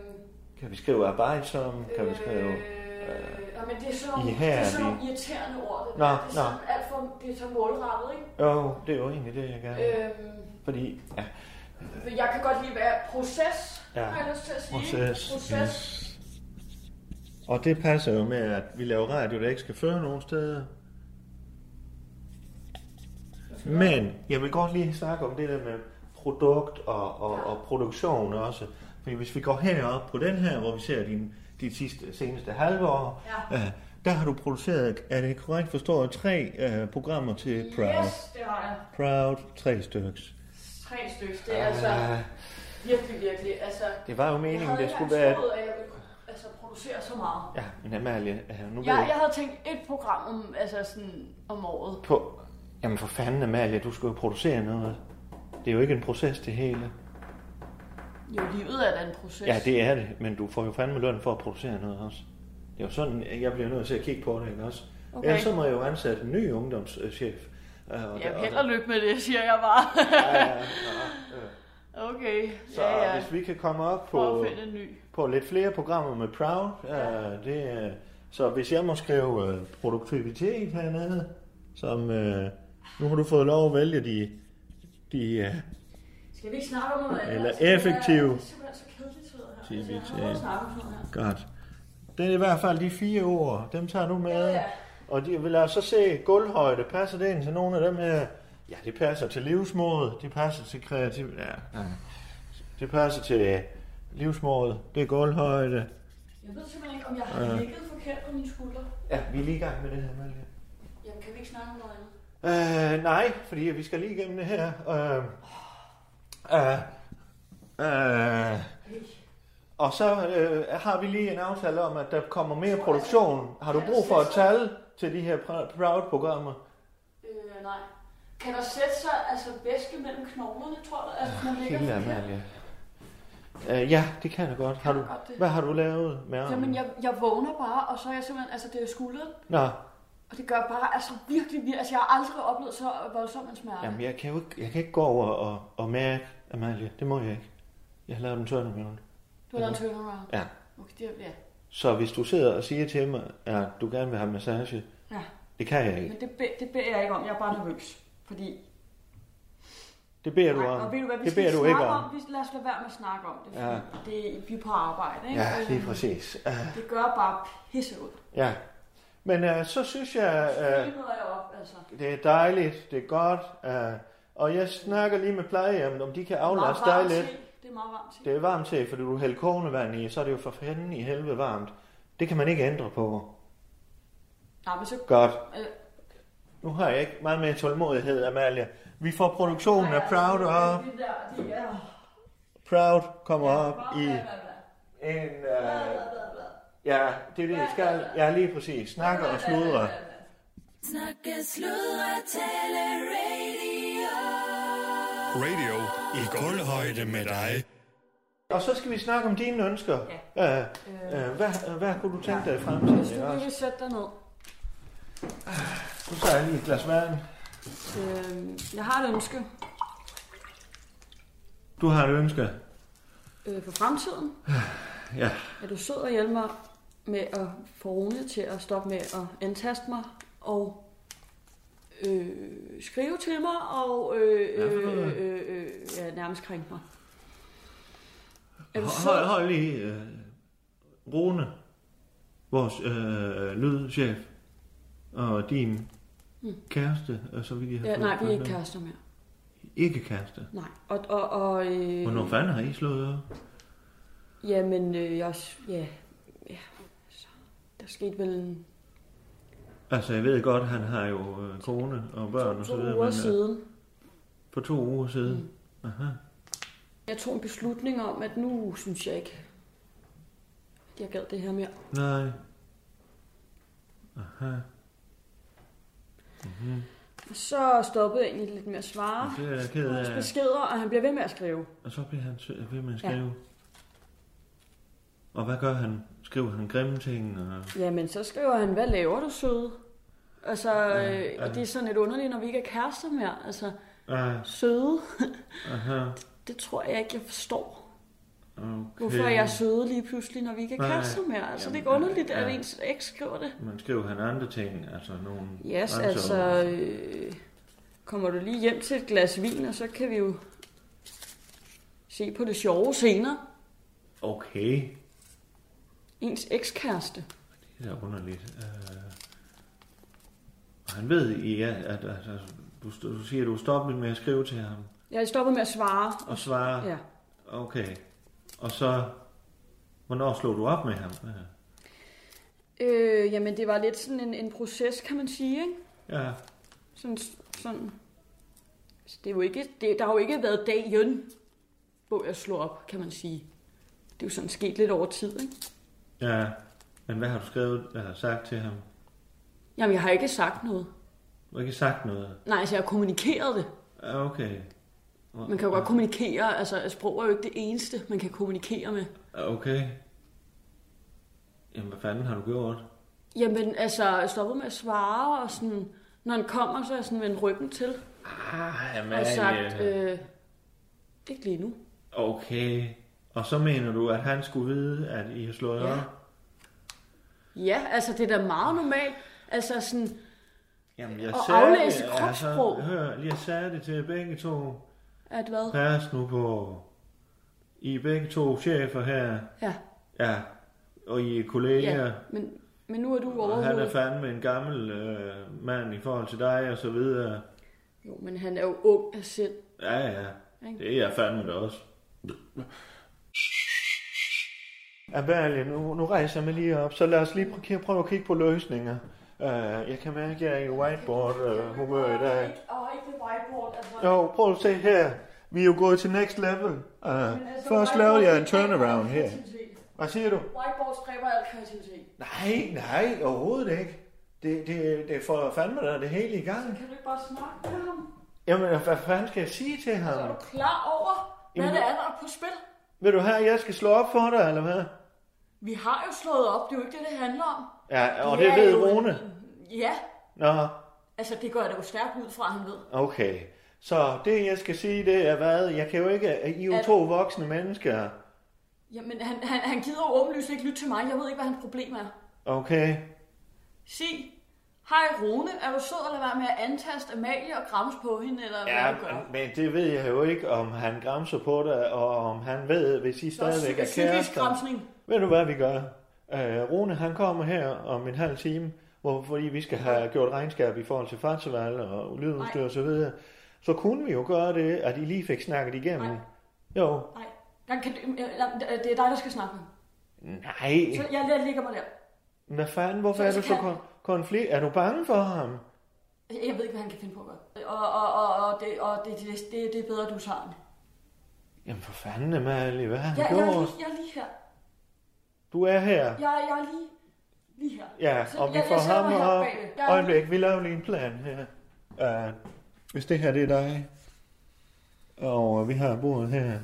Kan vi skrive arbejdsom? Kan vi skrive...
Øh, ja, men det er sådan
I
nogle,
her
det er
er
sådan
vi.
nogle irriterende ord, det,
Nå,
der. det er
nå.
sådan alt for, det er så målrettet, ikke?
Jo, det er jo egentlig det, jeg gerne vil.
Øhm,
Fordi, ja,
for jeg kan godt lide være proces,
Ja.
har jeg lyst til at sige.
proces.
proces.
Og det passer jo med, at vi laver radio, der ikke skal føre nogen steder. Men jeg vil godt lige snakke om det der med produkt og, og, og produktion også. Fordi hvis vi går herop på den her, hvor vi ser din, dit sidste, seneste halve år, ja. øh, der har du produceret, er det korrekt forstået, tre øh, programmer til Proud.
Yes, det har jeg.
Proud, tre styks. Øh,
Tre stykker. Det er
Ah.
altså virkelig, virkelig. Altså,
Det var jo
jeg
meningen,
havde
det
ikke
skulle
engang
være...
troet, at jeg ville kunne, altså, producere så meget.
Ja, men Amalie, øh, nu ved
Jeg, jeg havde tænkt et program om, altså sådan, om året.
på... Jamen for fanden, Amalie, du skal jo producere noget. Det er jo ikke en proces, det hele.
Jo, livet er da en proces.
Ja, det er det, men du får jo fandme løn for at producere noget også. Det er jo sådan, at jeg bliver nødt til at kigge på det, ikke også? Okay.
Okay.
Ellers så må jeg jo ansætte en ny ungdomschef. Øh, og der-
Jamen,
og-
held og lykke med det, siger jeg bare.
Ja, ja, ja, ja.
Okay,
Så
ja, ja.
hvis vi kan komme op
Prøv
på,
at finde en ny.
på lidt flere programmer med Proud, ja. øh, det, øh, så hvis jeg må skrive øh, produktivitet hernede, som øh, nu har du fået lov at vælge de, de øh,
Skal vi ikke snakke om noget andet?
Eller
Altså, det er-
effektive.
Det er simpelthen så kedeligt, sidder her. Altså, jeg har
Aktivitet.
prøvet at snakke om sådan noget her.
Godt. Det er i hvert fald de fire ord. Dem tager du med.
Ja, ja.
Og de, vil jeg så se gulvhøjde. Passer det ind til nogle af dem her? Ja, det passer til livsmod. Det passer til kreativ... Ja. ja. Det passer til livsmod. Det er gulvhøjde.
Jeg ved simpelthen ikke, om jeg har
Ja.
ligget forkert på mine skuldre.
Ja, vi er lige i gang med det her, Malte.
Jamen, kan vi ikke snakke om noget andet?
Øh, nej, fordi vi skal lige igennem det her. Øh, øh, øh.
Hey.
Og så øh, har vi lige en aftale om, at der kommer mere produktion. Har du brug for et tal til de her Pr- Proud-programmer?
Øh, nej. Kan der sætte sig altså væske mellem knoglerne, tror du? Altså, man ligger
Helt
forkert?
Amalie. Øh, ja, det kan jeg godt. Har du,
Godt, det.
hvad har du lavet med armen?
Jamen, jeg, jeg vågner bare, og så er jeg simpelthen, altså det er skulderen,
Nå,
og det gør bare, altså virkelig, virkelig, altså jeg har aldrig oplevet så voldsom en smerte.
jamen, jeg, kan jo ikke, jeg kan ikke gå over og, og mærke, Amalie. Det må jeg ikke. Jeg har lavet en turnaround.
du har lavet en turnaround.
Ja.
Okay, det er, ja.
Så hvis du sidder og siger til mig, at du gerne vil have massage,
ja.
det kan jeg ikke.
Men det, be, det beder jeg ikke om, jeg er bare nervøs, fordi
Det beder du
Nej,
om.
og ved du hvad, vi
det
skal
beder du
snakke
ikke om.
om. Vi, lad os lade være med at snakke om det, fordi
Ja.
ja. det, vi er på arbejde, ikke?
Ja,
Øh,
lige præcis. Ja,
Det gør bare pisse ud.
Ja. Men øh, så synes jeg,
Det
øh,
møder jeg op, altså.
det er dejligt, det er godt. Øh, og jeg snakker lige med plejehjemmet, om de kan aflaste
Meget
dig
varmt
lidt.
te. Det er meget varmt til.
Det er varmt til, fordi du hælder kogende vand i, så er det jo for fanden i helvede varmt. Det kan man ikke ændre på.
Nej, men så...
Godt.
Øh,
Nu har jeg ikke meget mere tålmodighed, Amalie. Vi får produktionen af
nej,
Proud op.
Det der, det er...
Proud kommer op i
Bla, bla, bla.
en... Øh,
Bla, bla, bla, bla.
ja, det er det, I skal. Ja, lige præcis. Snakker og sludrer.
Snakke, sludre, tale, radio.
Radio i guldhøjde med dig.
Og så skal vi snakke om dine ønsker. Ja. Øh, øh, hvad, øh, hvad kunne du tænke dig i fremtiden?
Hvis
ikke
du lige
også?
vil sætte dig ned.
Nu tager jeg lige et glas vand.
Øh, jeg har et ønske
Du har et ønske.
øh, for fremtiden.
Ja.
Er du sød og hjælpe mig med at få Rune til at stoppe med at antaste mig og øh, skrive til mig og øh,
Hvad for
øh,
noget?
øh, øh, ja, nærmest krænke mig? Er du
Hold,
sød?
hold lige. Øh, Rune, vores øh, lydchef, og din kæreste, øh, og så vidt jeg har
Mm. Ja,
fået-
nej, vi er
fået
ikke
med.
kærester mere.
Ikke kæreste.
Nej. Og, og, og øh,
Hvornår fanden har I slået op?
Jamen, øh, jeg, ja, ja, så, der skete vel en
Altså, jeg ved godt, han har jo øh, kone og børn og så
to
videre,
uger
men øh,
siden. Mm.
for to uger siden. Aha.
Jeg tog en beslutning om, at nu synes jeg ikke, at jeg gad det her mere.
Nej. Aha.
Og så stoppede jeg egentlig lidt med at svare.
Det er øh. jeg ked
Hans
af.
beskeder, og han bliver ved med at skrive.
Og så bliver han sø- øh, ved med at
Ja.
skrive. Og hvad gør han? Skriver han grimme ting? Og...
Jamen, så skriver han, hvad laver du, søde? Altså,
Ja,
øh,
ja.
og det er sådan lidt underligt, når vi ikke er kærester mere. Altså,
Ah,
søde,
aha.
det tror jeg ikke, jeg forstår.
Okay.
Hvorfor er jeg søde lige pludselig, når vi ikke er
Nej.
kærester mere? Altså, det er ikke
Jamen,
underligt, at
ja.
ens eks skriver det.
Man skriver han andre ting, altså nogle...
Yes,
grænser.
altså, øh, kommer du lige hjem til et glas vin, og så kan vi jo se på det sjove senere.
Okay.
Ens ekskæreste.
Det er da underligt. Øh, og han ved, I er, at, at, at du, st- du siger, at du stopper med at skrive til ham
Jeg stoppede med at svare.
og svare,
Ja.
okay. Og så, hvornår slog du op med ham? Øh,
Øh, jamen, det var lidt sådan en, en proces, kan man sige, ikke?
Ja,
Sådan, sådan. Så det er jo ikke, det, der har jo ikke været dagen, hvor jeg slog op, kan man sige. Det er jo sådan sket lidt over tid, ikke?
ja. Men hvad har du skrevet eller sagt til ham?
Jamen, jeg har ikke sagt noget.
Du har ikke sagt noget.
Nej, altså, jeg har kommunikeret det.
Ja, okay.
Man kan jo godt kommunikere, altså sprog er jo ikke det eneste, man kan kommunikere med.
Okay. Jamen, hvad fanden har du gjort?
Jamen, altså, jeg stoppede med at svare, og sådan, når han kommer, så er jeg sådan vendt ryggen til,
Ah, jamen,
og sagt, øh, ikke lige nu.
Okay. Og så mener du, at han skulle vide, at I har slået
Ja.
op?
Ja, altså, det er da meget normalt. Altså, sådan,
Jamen, jeg
Og
sagde det,
aflæse kropssprog.
Altså, hør, jeg sagde det til jer begge to.
at hvad?
Pas nu på. I er begge to chefer her.
Ja,
Ja. Og I er kolleger.
ja, men, men nu er du
og han er
overhovedet.
fandme en gammel øh, mand i forhold til dig og så videre.
Jo, men han er jo ung af sind.
Ja, ja.
Ikke?
Det er jeg fandme da også. Amalie, nu, nu rejser jeg mig lige op, så lad os lige prøve, prøve at kigge på løsninger. Uh, jeg kan mærke, at jeg er i whiteboard-humør i dag.
Og ikke det whiteboard, altså.
Jo, prøv at se her. Vi er jo gået til next level. Uh,
altså,
først lavede jeg en turnaround her. Hvad siger du?
Whiteboard stræber alt kreativitet.
Nej, nej, overhovedet ikke. Det, det, det får fandme da det hele i gang.
Kan du ikke bare snakke med ham?
Jamen, hvad fanden skal jeg sige til
Så er
ham?
du klar over, hvad
Jamen-
det er, der er på spil?
Vil du have, at jeg skal slå op for dig, eller hvad?
Vi har jo slået op, det er jo ikke det, det handler om.
Ja, og
Det
det
er
ved
jo en-
Rune.
Ja,
Nå,
altså det går jeg da jo stærkt ud fra, han ved.
okay. Så det, jeg skal sige, det er hvad? Jeg kan jo ikke... I er jo
At-
to voksne mennesker.
Jamen, han, han, han gider jo åbenlyst ikke lytte til mig. Jeg ved ikke, hvad hans problem er.
Okay.
Sig, hej Rune, er du sød at lade være med at antaste Amalie og grams på hende, eller hvad
Ja,
du gør?
men- men det ved jeg jo ikke, om han græmser på dig, og om han ved, hvis I stadigvæk er kærester.
kærester.
Ved du, hvad vi gør? Øh, Rune, han kommer her om en halv time, hvor, fordi vi skal have gjort regnskab i forhold til fartsvalg og lydudstyr
Nej.
og så videre. Så kunne vi jo gøre det, at I lige fik snakket igennem.
Nej.
Jo.
Nej, den kan, eller, det er dig, der skal snakke med ham.
Nej.
Så jeg, jeg ligger mig der.
Hvad fanden, hvorfor
Så-
er
så
du så
kan-
kon- konflikt? Er du bange for ham?
Jeg ved ikke, hvad han kan finde på at gøre. Og, og, og, og, det, og det, det, det, det er bedre, at du tager den.
Jamen for fanden, Amalie, hvad har
Jeg,
han
jeg, er
gjort?
lige, jeg er lige her.
Du er her.
Jeg, jeg er lige, lige her.
Ja,
Så
og vi
jeg-
får
jeg sætter
ham
mig her
op.
bagved. Jeg er
Øjeblik, vi laver lige en plan her. Uh, hvis det her, det er dig, og vi har bordet her,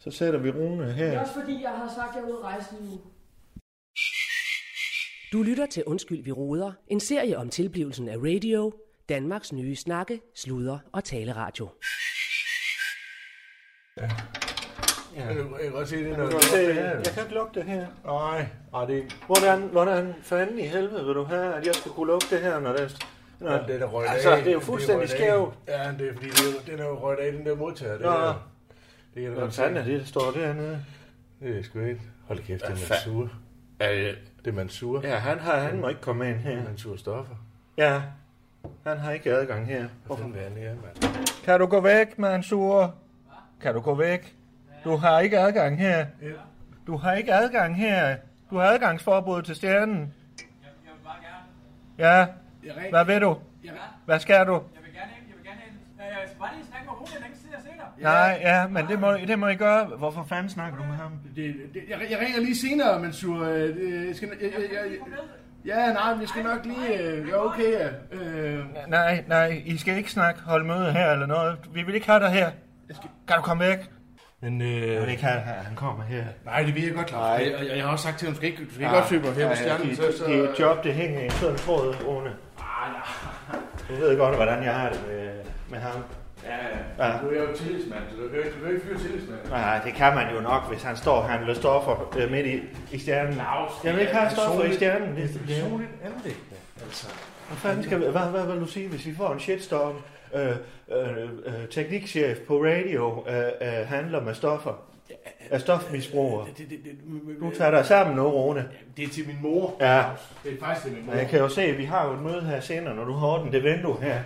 så sætter vi Rune
Det er
her.
også fordi, jeg har sagt, at jeg er ude at rejse lige nu.
Du lytter til Undskyld, vi roder, en serie om tilblivelsen af radio, Danmarks nye snakke, sludre og taleradio.
Jeg kan- Jeg kan godt se, det er noget.
Jeg kan ikke lukke det her.
Nej, nej, det,
Hvordan, hvordan fanden i helvede vil du have, at jeg skal kunne lukke det her, når det når,
det er da røget
altså,
af.
det er jo fuldstændig
røget af.
skævt.
Ja, det er fordi, det er, den er jo røget af, den der modtager. Det,
Nå.
der. det kan jeg da
Hvad
godt
fanden er
se.
det, der står dernede?
Det er sgu ikke. Hold kæft, det
Hvad
er
fanden?
Mansur. Det er Mansur.
Ja, han, har, han må ikke komme ind her.
Mansur Stoffer.
Ja, han har ikke adgang her.
Hvad fanden er det her, mand?
Kan du gå væk, Mansur? Kan du gå væk? Du har ikke adgang her. Du har ikke adgang her. Du har adgangsforbud til stjernen. Ja,
Jeg, ring,
hvad vil du?
jeg,
Hvad skal du?
jeg vil gerne ind, jeg vil gerne ind. Øh, Jeg skal bare lige snakke med Rune, længe siden jeg ser dig.
Nej, ja, men det må, det må I gøre. Hvorfor fanden snakker du med ham?
Det, det, jeg, jeg ringer lige senere, Mansur. Øh, det- Jeg skal, jeg, jeg, jeg, ja, nej, men jeg skal nok lige... Øh, ja, okay, ja. Øh,
Nej, nej, I skal ikke snakke, holde møde her eller noget. Vi vil ikke have dig her. Kan du komme væk?
Men øh,
Jeg vil ikke have dig her. Han kommer her.
nej, det ved jeg godt, Claus. Jeg, jeg, jeg har også sagt til ham, du skal ikke, du skal ikke opsøge mig her på stjernen.
Det, det er et job, det hænger i en sådan tråd, Rune. Du ved godt, hvordan jeg har det med, med ham.
Ja, ja. Nu er jeg jo tillidsmand, så du kan ikke- du kan ikke fyre tillidsmand.
Nej, det kan man jo nok, hvis han står og handler stoffer øh, midt i, i stjernen. Jeg vil ikke have stoffer i stjernen. Det, det, det.
personligt anlæggende, altså.
Hvad, fanden skal, vi- hvad, hvad vil du sige, hvis vi får en shitstorm? Øh, øh, øh, teknikchef på radio øh, øh, handler med stoffer. af stofmisbrugere.
Det, det, det, men- men-
Du tager dig sammen nu, Rune.
det er til min mor.
Ja,
Det er faktisk til min mor.
og jeg kan jo se, at vi har jo et møde her senere, når du har ordnet det vindue her.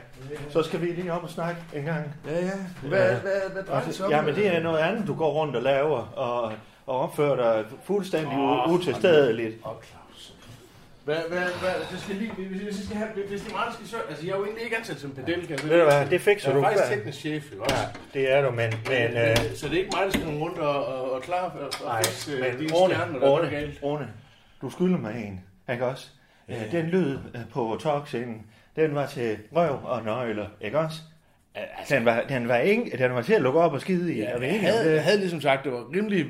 Så skal vi lige op og snakke en gang.
Ja, ja. Hvad, hvad, hvad drejer det sig om?
Ja, men det er noget andet, du går rundt og laver, og, og opfører dig fuldstændig oh, utilstedeligt.
Åh, Claus. Hvad, hvad, hvad, det skal lige, hvis, hvis, hvis, skal have, hvis det er meget, der skal søge, altså jeg er jo egentlig ikke ansat som pedel, kan jeg
Ved du hvad, det fikser
jeg
du.
er faktisk
Ja.
teknisk chef, jo også.
Ja, det er du, men, men,
Men,
øh,
øh, så det er ikke mig, der skal runde rundt og, og, og klare og, og
nej,
fikse øh, de
men
stjerner,
Rune,
der er
Rune,
galt.
Rune, du skylder mig en, ikke også? Ja. Den lyd øh, på talkscenen, den var til røv og nøgler, ikke også? Altså, den var, den var, ikke, den var til at lukke op og skide i.
Ja,
er vi
jeg,
enige om
havde,
det?
jeg havde ligesom sagt, det var rimelig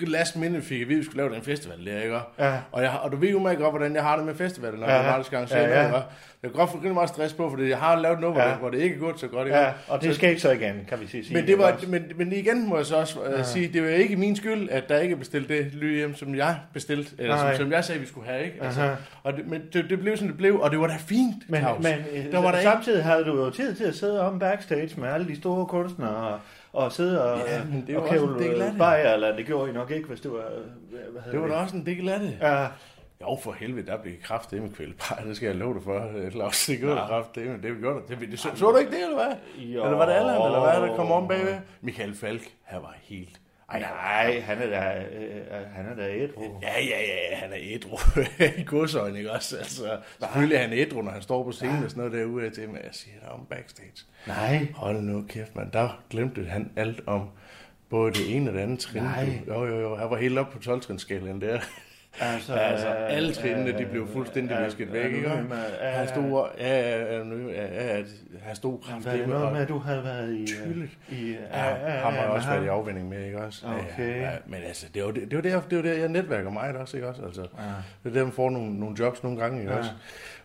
last minute fik jeg ved, at vi skulle lave den festival der, ikke?
Ja.
Og, jeg, og du ved jo meget godt, hvordan jeg har det med festivaler, når
Ja,
ja, jeg har det gang
ja, ja.
ja, ja. Jeg kan godt få rimelig meget stress på, fordi jeg har lavet noget, hvor,
Ja.
det, hvor det ikke er gået så godt. ikke?
Ja, og det skete så igen, kan vi sige. sige,
Men, det var,
ikke også?
men, men igen må jeg så også øh, sige, det var ikke min skyld, at der ikke er bestilt det lyd hjem, som jeg bestilte, eller
Nej.
som, som jeg sagde, vi skulle have. Ikke? Altså,
Aha.
og det, men det, det blev, som det blev, og det var da fint,
Men,
Claus.
men øh,
der var der ikke...
samtidig havde du jo tid til at sidde om backstage med alle de store kunstnere og, og sidde og,
Ja, men det er jo
og
også en del af det.
bajer, eller det gjorde I nok ikke, hvis det var... øh, Hvad
Det var da også en del af det.
Ja,
Jo, for helvede, der blev kraftedeme kvældpar. Det skal jeg love dig for, øh, Claus. Det gjorde ja. kraftedeme. Det gjorde det. det, det så, så, du ikke det, eller hvad?
Jo.
Eller var det Allan, eller hvad, der kom om bagved? Michael Falk, han var helt... Ej,
nej, han er da, øh, han er da et
Ja, ja, ja, ja, han er ædru. I godsøjne, ikke også? Altså, selvfølgelig er han ædru, når han står på scenen og sådan noget derude til, men jeg siger der om backstage.
Nej.
Hold nu kæft, mand. Der glemte han alt om både det ene og det andet trin.
Nej.
du. Jo, jo, jo. Han var helt oppe på 12-trinsskalaen der.
Altså,
altså, alle
øh,
trinene,
øh,
de blev fuldstændig
øh,
visket
øh,
væk, ikke?
anonym, øh,
Han stod, og- ja, ja, ja, nu- ja, ja, ja, han stod
Var det
kraftedeme.
noget
og-
med, at du havde været i... øh,
Tydeligt.
i
Ja, ham har jeg
med
også været i
ham?
afvinding med, ikke også? Ja,
Okay.
Ja, men altså, det er jo det, det, er jo der, det er jo der, jeg netværker meget også, ikke også? Altså, ja. Det er der, man får nogle, nogle jobs nogle gange, ikke
Ja.
også?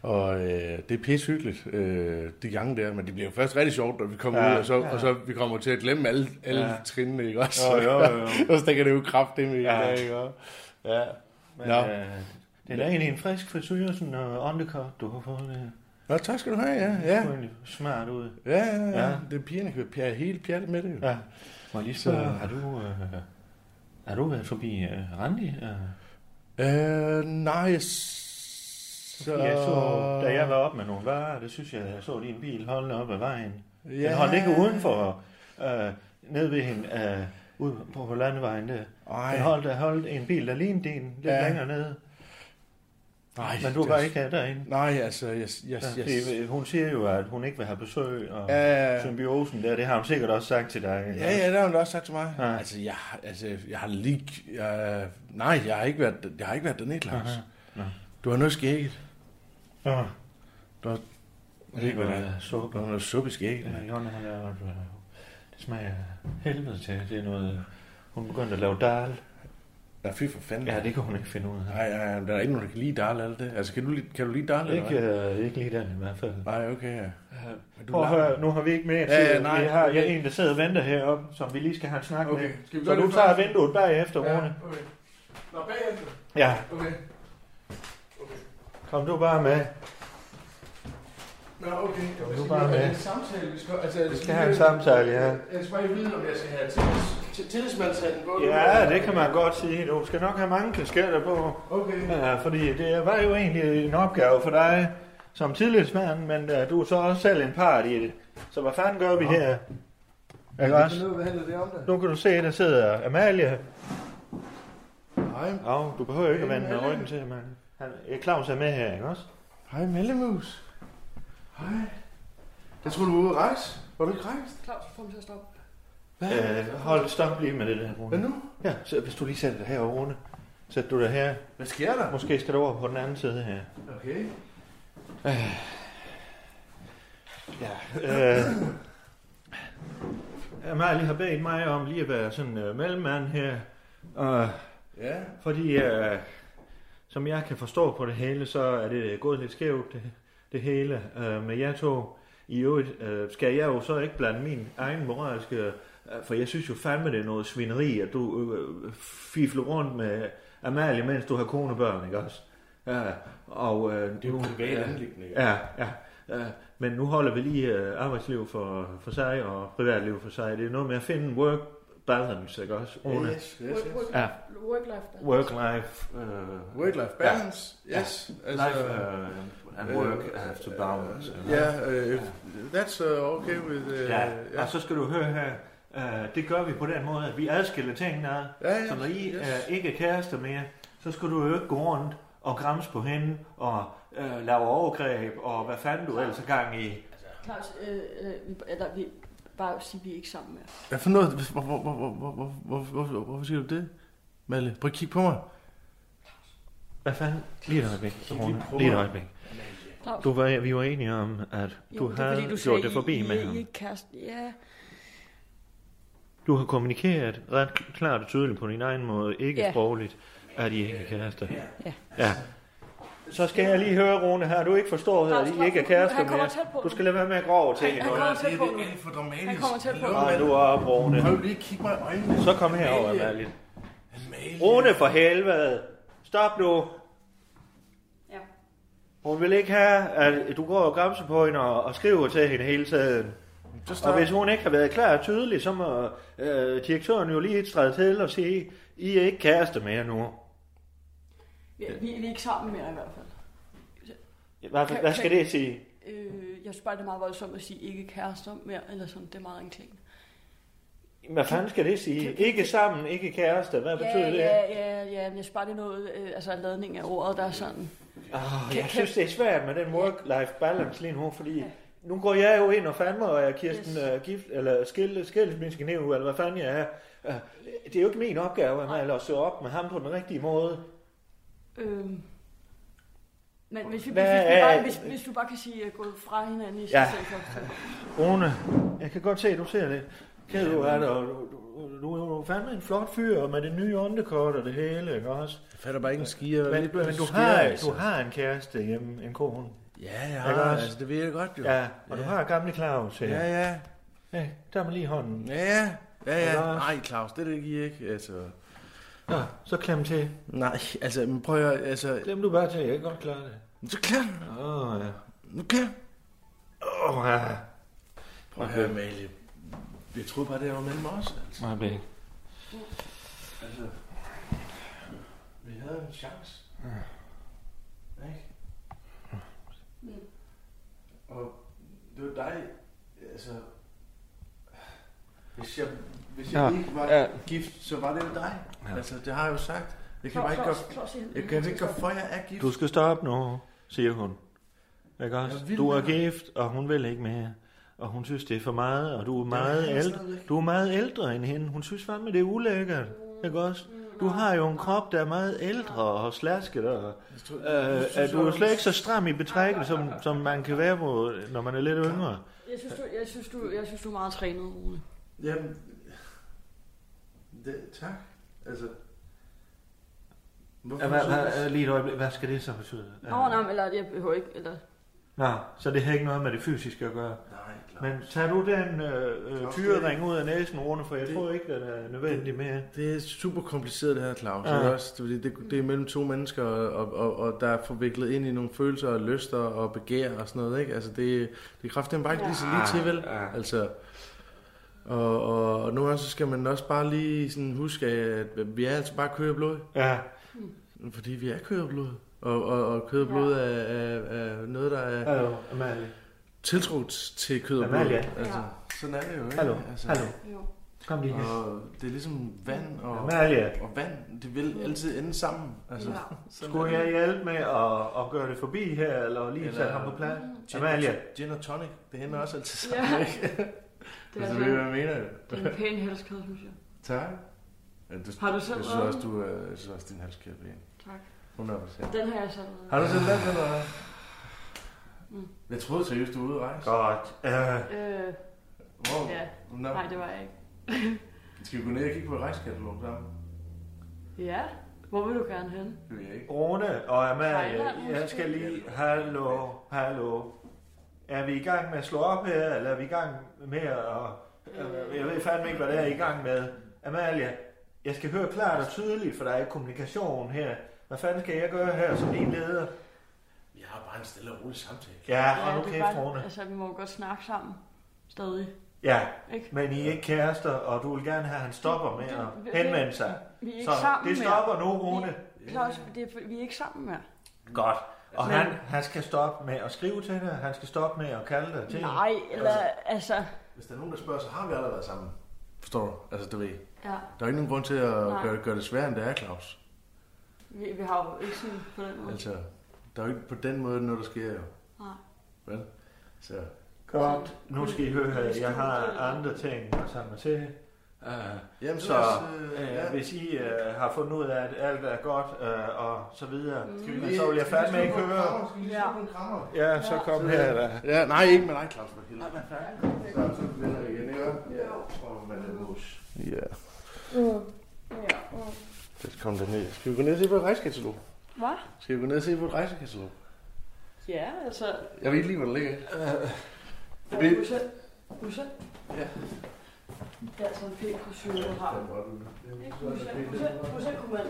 Og øh, det er pissehyggeligt, øh, de gange der, men det bliver jo først rigtig sjovt, når vi kommer
Ja.
ud, og så, ja. og så vi kommer til at glemme alle, alle
Ja.
ja. trinene, ikke også?
Jo, jo, jo.
og så stikker det jo kraft det med,
Ja.
ja. ikke også? Ja.
Men,
Nå.
øh, det er da egentlig en frisk frisyr, sådan og undercut, du har fået det.
Nå, tak skal du have, ja.
Ja.
Ja,
Det egentlig smart ud.
ja, ja. ja.
Ja.
ja. Det er pigerne kan være helt pjattet med det, jo.
Ja. Må jeg lige
Så-
spørge, har du, øh, har du været forbi øh, Randi? Øh,
Øh, nej, så...
ja, så, da jeg var op med nogle varer, der synes jeg, jeg så din bil holde op ad vejen. Ja.
Ja.
Den holdt ikke udenfor, øh, nede ved hende, øh, ude på, på landevejen der.
Ej.
Den holdt, der holdt en bil, der lignede din, lidt ja.
Ja.
længere nede.
Nej,
Men du var ikke øh, derinde.
Nej, altså, jeg... jeg,
Ja,
jeg
fordi, øh, Hun siger jo, at hun ikke vil have besøg, og
Ja, ja, ja.
symbiosen der, det har hun sikkert også sagt til dig. ikke?
ja, ja, det har hun da også sagt til mig.
Ja.
Ja. Altså, jeg, altså, jeg har lige... Jeg, nej, jeg har ikke været, jeg har ikke været dernede, Claus. Du har noget skægget.
Nå,
Du har, jeg ved ikke, hvad det er. Du
Suppe.
har noget suppe i skægget.
Ja,
mand.
Jonna, hun laver, øh, det smager helvede til. Det er noget, øh, hun begyndte at lave dal.
Ja, fy for fanden.
Ja, det kan hun ikke finde ud af.
Nej, nej, nej, der er ikke nogen, der kan lide Darl alt det. Altså, kan du, lide- kan du lide Darl? eller
Ikke,
hvad?
øh, ikke lige den i hvert fald.
Nej, okay, ja. Men
Prøv at
lader-
høre, nu har vi ikke mere tid.
Ja, ja, nej.
vi har jeg er en, der sidder og venter heroppe, som vi lige skal have en snak
Okay.
med.
Skal vi
Så
gøre
du
det
tager
først?
vinduet bagefter, Rune.
okay. Nå, bagefter.
Ja,
Okay.
kom du bare med.
Nå, okay. Kom
nu bare med.
en samtale, vi skal... Altså,
Vi skal have en samtale, ja.
Jeg skal bare vide, om jeg skal have tillids- til- tillidsmandshatten på.
Ja, det kan man godt sige. Du skal nok have mange kasketter på.
Okay.
Ja, fordi det var jo egentlig en opgave for dig som tillidsmand, men øh, du er så også selv en part i det. Så hvad fanden gør vi her? Ikke
Jeg
også?
kan hvad handler det om da?
Nu kan du se, der sidder Amalie.
Hej,
Au, du behøver ikke at vende med ryggen til, Amalie. Han, ja, Claus er med her, ikke også?
hej Mellemus.
Hej. Jeg tror, du var ude at rejse. Var du ikke rejst?
Claus, få mig til at stoppe.
Hvad?
Øh, hold stop lige med det der, Rune.
Hvad nu?
Ja, så hvis du lige sætter dig herovre, Rune. Sæt du dig her.
Hvad sker der?
Måske skal du over på den anden side her.
Okay.
Øh, Amalie har bedt mig om lige at være sådan øh, mellemmand her. Og
Ja.
Fordi, øh, som jeg kan forstå på det hele, så er det gået lidt skævt, det, det hele øh, med jer to. I øvrigt øh, skal jeg jo så ikke blande min egen moralske... Øh, for jeg synes jo fandme, det er noget svineri, at du øh, fifler rundt med Amalie, mens du har kone og børn, ikke også? Ja, og... Øh, det er jo
privat anliggende, jo.
Ja, ja. ja. Men øh, nu holder vi lige øh, arbejdsliv for, for sig og privatliv for sig. Det er noget med at finde en work balance, ikke også? Rune?
Yes, yes, yes.
Work-
Ja.
work- Work-life balance.
Work-life. Uh,
Work-life balance. Yes.
Life uh, and work have to balance.
Uh,
you know?
yeah, uh, if that's uh, okay with... Uh,
Ja, og så skal du høre her, øh, det gør vi på den måde, at vi adskiller tingene ad.
Ja, ja,
Så når I
yes.
øh, ikke er kærester mere, så skal du jo ikke gå rundt og grams på hende og øh, lave overgreb og hvad fanden du ellers er gang i.
Claus, øh, øh, vi- eller vi bare sige, vi er ikke sammen mere.
Hvad for noget? Hvor, hvor, hvor, hvor, hvor, hvor, hvor, hvor, hvor, hvorfor siger du det? Malle, prøv at kigge på mig.
Hvad fanden? Lige et øjeblik, Rune.
på
Lige et
mig.
øjeblik.
Claus,
Du var, vi var enige om, at
jo,
du
det er
havde
fordi, du
gjort
sagde,
det forbi
I,
med
I, I er
ham.
ikke kæresten. Ja,
Du har kommunikeret ret klart og tydeligt på din egen måde, ikke
Ja.
sprogligt, at I ikke er kærester.
Ja.
ja. Så skal jeg lige høre, Rune, her. Du ikke forstår, at
Claus,
I ikke er
Claus,
kærester
han kommer
mere.
tæt på.
Du skal lade være med at grove til
Han
hende.
kommer tæt på nu.
Det er alt for dramatisk.
Han kommer tæt på.
Luk,
Nej,
Malle.
du er op, Rune.
Prøv lige at kigge mig i øjnene.
Så kom herover,
Malle.
Malit.
Malle.
Rune for helvede. Stop nu.
ja.
Hun vil ikke have, at du går og græmser på hende og, og skriver til hende hele tiden.
Så
Og
stop.
hvis hun ikke har været klar og tydelig, så må øh, direktøren jo lige træde til og sige, I er ikke kærester mere nu.
Vi, vi, vi er ikke sammen mere i hvert fald.
Hvad,
Kan-
hvad skal
kan-
det sige?
Øh, jeg synes bare, det er meget voldsomt at sige ikke kærester mere, eller sådan, det er meget anklagende.
Hvad fanden skal det sige? Ikke sammen, ikke kærester. Hvad betyder
Ja,
det?
ja, ja, ja, men jeg synes bare, det er noget, øh, altså ladning af ordet, der er sådan.
Oh,
Kan-
jeg
kan-
synes, det er svært med den work-life balance lige nu, fordi nu går jeg jo ind og fandme, og jeg er Kirsten
Yes.
yes. uh, gift, eller skil, skilsmissegenev, eller hvad fanden jeg er. Uh, det er jo ikke min opgave at man at søge op med ham på den rigtige måde.
Øhm, men hvis vi, hvis, vi
Hvad
bare,
er-
hvis, hvis du bare kan sige at gå fra hinanden i
Ja.
sig selv. så-
Rune, jeg kan godt se, at du ser lidt ked ud af det, og du, du, du, er jo fandme en flot fyr, og med det nye åndekort og det hele, ikke også?
Jeg fatter bare ikke en skier.
Men, men du, har, du har en kæreste hjemme, en kone.
altså. Ja, jeg
Ikke
har.
også?
Altså, det ved jeg godt jo.
Ja, og du har gamle Claus her.
Ja,
Ja.
ja.
Ja, der med lige hånden.
Ja, ja. Ja, ja.
Ikke også?
Nej, Claus, det er det ikke. Altså,
Nå, så klem til.
nej, altså, men prøv at høre, altså,
Klem du bare til, jeg kan godt klare det.
så klar.
Åh, ja.
Nu kan
Åh, ja.
Prøv at høre, Malie. Jeg troede bare, det var mellem os, altså.
Nej, det
altså. Vi havde en chance. Ikke? Og det var dig, altså... Hvis jeg, hvis jeg
Ja,
ikke var
ja.
gift, så var det jo dig. Altså, det har jeg jo sagt. Jeg kan bare ikke
Claus,
gøre...
Claus, Claus,
Jeg kan ikke gøre for, at jeg er gift.
Du skal stoppe nu, siger hun. Ikke også?
Jeg vil
Du er
med dig.
gift, og hun vil ikke mere. Og hun synes, det er for meget, og du er
vil
meget,
jeg
ældre.
stadigvæk.
Du er meget ældre end hende. Hun synes fandme, det er ulækkert. Ikke også? Du har jo en krop, der er meget ældre og slasket. Og, øh, er du er slet ikke så stram i betrækket, som, som man kan være, på, når man er lidt yngre.
Jeg synes, du, jeg, synes, du, jeg synes, du er meget trænet, Rune.
Jamen, det, tak. Altså, hvorfor så?
lige et øjeblik. Hvad skal det så betyde?
Nå, nej, men eller jeg behøver ikke, eller...
Nå, så det har ikke noget med det fysiske at gøre?
Nej, klar.
Men tager du den øh, øh,
Claus,
tyrering ud af næsen, Rune, for jeg
Det-
tror ikke, den er nødvendig mere.
Det er super kompliceret det her, Claus.
Ja.
Ja. Også, det, det, det er mellem to mennesker, og, og, og der er forviklet ind i nogle følelser og lyster og begær og sådan noget. Ikke? Altså, det, det er kraftigt bare ikke lige så lige til, vel?
Ja.
Altså, og, og, og nogle gange så skal man også bare lige sådan huske, at vi er altså bare kød og blod.
Ja,
Fordi vi er kød og blod. Og, og, og kød og blod er, er, er noget, der er...
hallo, Amalie.
tiltro til kød og blod.
Amalie.
Altså, sådan er det jo, ikke?
Hallo,
altså,
hallo.
Jo.
Kom lige her.
Og det er ligesom vand og,
Amalie,
og vand, det
Mm.
vil altid ende sammen. Altså,
Ja.
sådan er
skulle
det.
jeg hjælpe med at, at gøre det forbi her, eller lige
Eller-
tage ham på plads?
Gin,
Amalie,
gin og tonic, det hænder også altid
Ja.
sammen, ikke?
Det er,
altså,
altså,
ved du, hvad jeg mener? jo?
det er en pæn halskæde, synes jeg.
Tak. Ja, du,
Har du selv
jeg synes
lavet
også, du er, jeg synes også, din halskæde er pæn.
Tak.
100%.
Den har jeg så lavet.
Har du selv lavet den, eller hvad?
Mm.
Jeg troede seriøst, du var ude at rejse.
godt. Uh,
Øh,
Wow.
ja.
Nå.
Nej, det var jeg ikke.
Skal vi gå ned og kigge på et rejsekatalog sammen?
Ja, hvor vil du gerne hen?
Det ved jeg ikke.
Rune og Amalie,
Thailand, måske?
jeg skal lige... Hallo, hallo. Er vi i gang med at slå op her, eller er vi i gang med at... Øh, jeg ved fandme ikke, hvad det er I er i gang med. Amalie, jeg skal høre klart og tydeligt, for der er ikke kommunikation her. Hvad fanden skal jeg gøre her som din leder?
Vi har bare en stille og rolig samtale.
Ja, og nu
det er
kæft, Rune.
altså, vi må jo godt snakke sammen. Stadig.
Ja,
Ikke?
men I er ikke kærester, og du vil gerne have, at han stopper med
Vi-
at
vi-
henvende sig.
Vi er ikke
Så
sammen
det
mere.
stopper nu, Rune.
Claus, det er, for- vi er ikke sammen mere.
Godt. Og
Men-
han, han skal stoppe med at skrive til dig, han skal stoppe med at kalde dig til
Nej, eller altså...
Hvis der er nogen, der spørger, så har vi allerede været sammen. Forstår du? Altså, du ved.
Ja,
Der er ikke nogen grund til at
Nej.
gøre, gøre det sværere, end det er, Claus.
vi, vi har jo ikke sådan på den måde.
Altså, der er jo ikke på den måde noget, der sker jo.
Nej.
Vel? Så,
Godt. Nu skal I høre, at jeg har andre ting at samle til. Uh,
jamen,
Så,
øh,
øh,
ja.
hvis I øh, har fundet ud af, at alt er godt øh, og så videre,
Mm.
mm. så vil jeg fandme ikke høre.
Ja.
Ja, så kom her. Da.
Ja, nej, ikke med dig, Claus, for helvede. Så, så vender vi igen, ikke? Ja, tror man er mus. Ja,
Ja. mm.
det kom der ned. Skal vi gå ned og se på et rejsekatalog?
Hvad?
Skal vi gå ned og se på et rejsekatalog?
Ja, altså...
Jeg ved ikke lige, hvor det ligger.
Ja,
Vi-
Usa. Usa.
Ja.
Det er altså en pæn frisure, du har. Ikke Usa. Usa. Usa kunne man...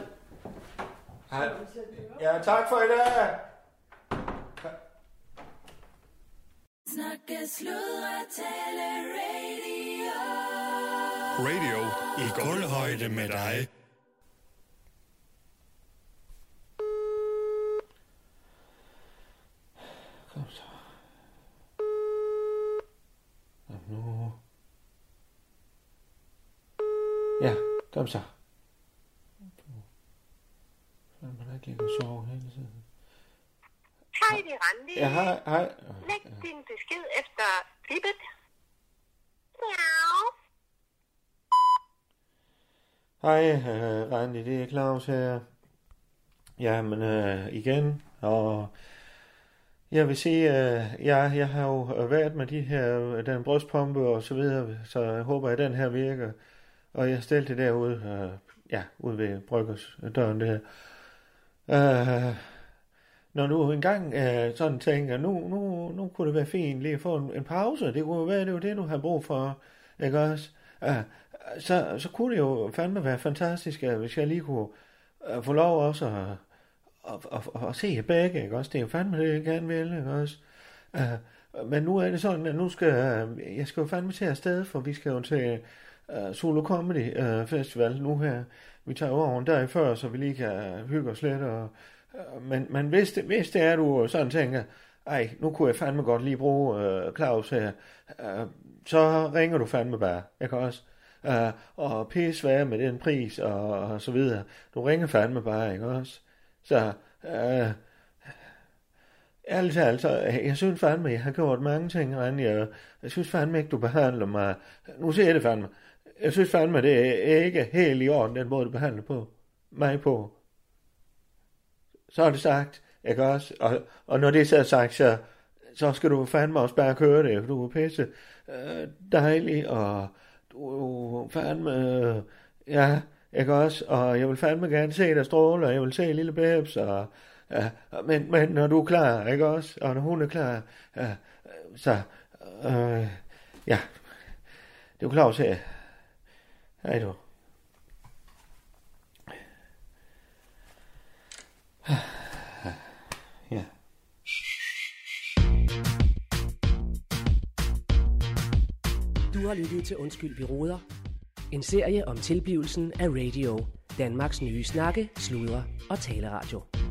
Hej. Ja, tak for i dag.
Snakke, sludre, tale, radio.
Radio i gulvhøjde med dig.
Nu. Ja, kom så. Man ikke ligge og sove hele tiden.
Hej, det er Randi.
Ja, hej, hej.
Læg din besked efter bippet. Miau.
Hej, øh, Randi, det er Claus her. Jamen, øh, igen, og jeg vil sige, øh, jeg, jeg har jo været med de her, øh, den brystpumpe og så videre, så jeg håber, at den her virker. Og jeg stillede det derude, øh, ja, ude ved Bryggers døren der. Øh, når du engang øh, sådan tænker, nu, nu, nu kunne det være fint lige at få en, en pause, det kunne jo være, det var det, du har brug for, ikke også? Øh, så, så kunne det jo fandme være fantastisk, øh, hvis jeg lige kunne øh, få lov også at, at, at, at, at se jer begge, ikke også? Det er jo fandme det, jeg gerne vil, ikke også? Øh, men nu er det sådan, at nu skal øh, jeg skal jo fandme til afsted, for vi skal jo til uh, Solo Comedy uh, Festival nu her. Vi tager jo over en dag før, så vi lige kan øh, hygge os lidt. Og, øh, men men hvis, det, hvis det er, du sådan tænker, ej, nu kunne jeg fandme godt lige bruge øh, Claus her, øh, så ringer du fandme bare, ikke også? Uh, og pisse være med den pris og, og så videre. Du ringer fandme bare, ikke også? Så, uh, ærligt talt, så, øh, jeg synes fandme, jeg har gjort mange ting, Randi, og jeg synes fandme ikke, du behandler mig. Nu siger jeg det fandme. Jeg synes fandme, det er ikke helt i orden, den måde, du behandler på. mig på. Så er det sagt, ikke også? Og, og når det så er sagt, så, så skal du fandme også bare køre det, for du er pisse øh, dejlig, og du er jo fandme, øh, ja, ikke også? Og jeg vil fandme gerne se dig stråle, og jeg vil se lille Bebs, og, ja, men, men når du er klar, ikke også? Og når hun er klar, ja, øh, så, øh, ja, det er jo Claus her. Hej du. Ja.
Du har lyttet til Undskyld, vi råder. En serie om tilblivelsen af radio. Danmarks nye snakke, sludre og taleradio.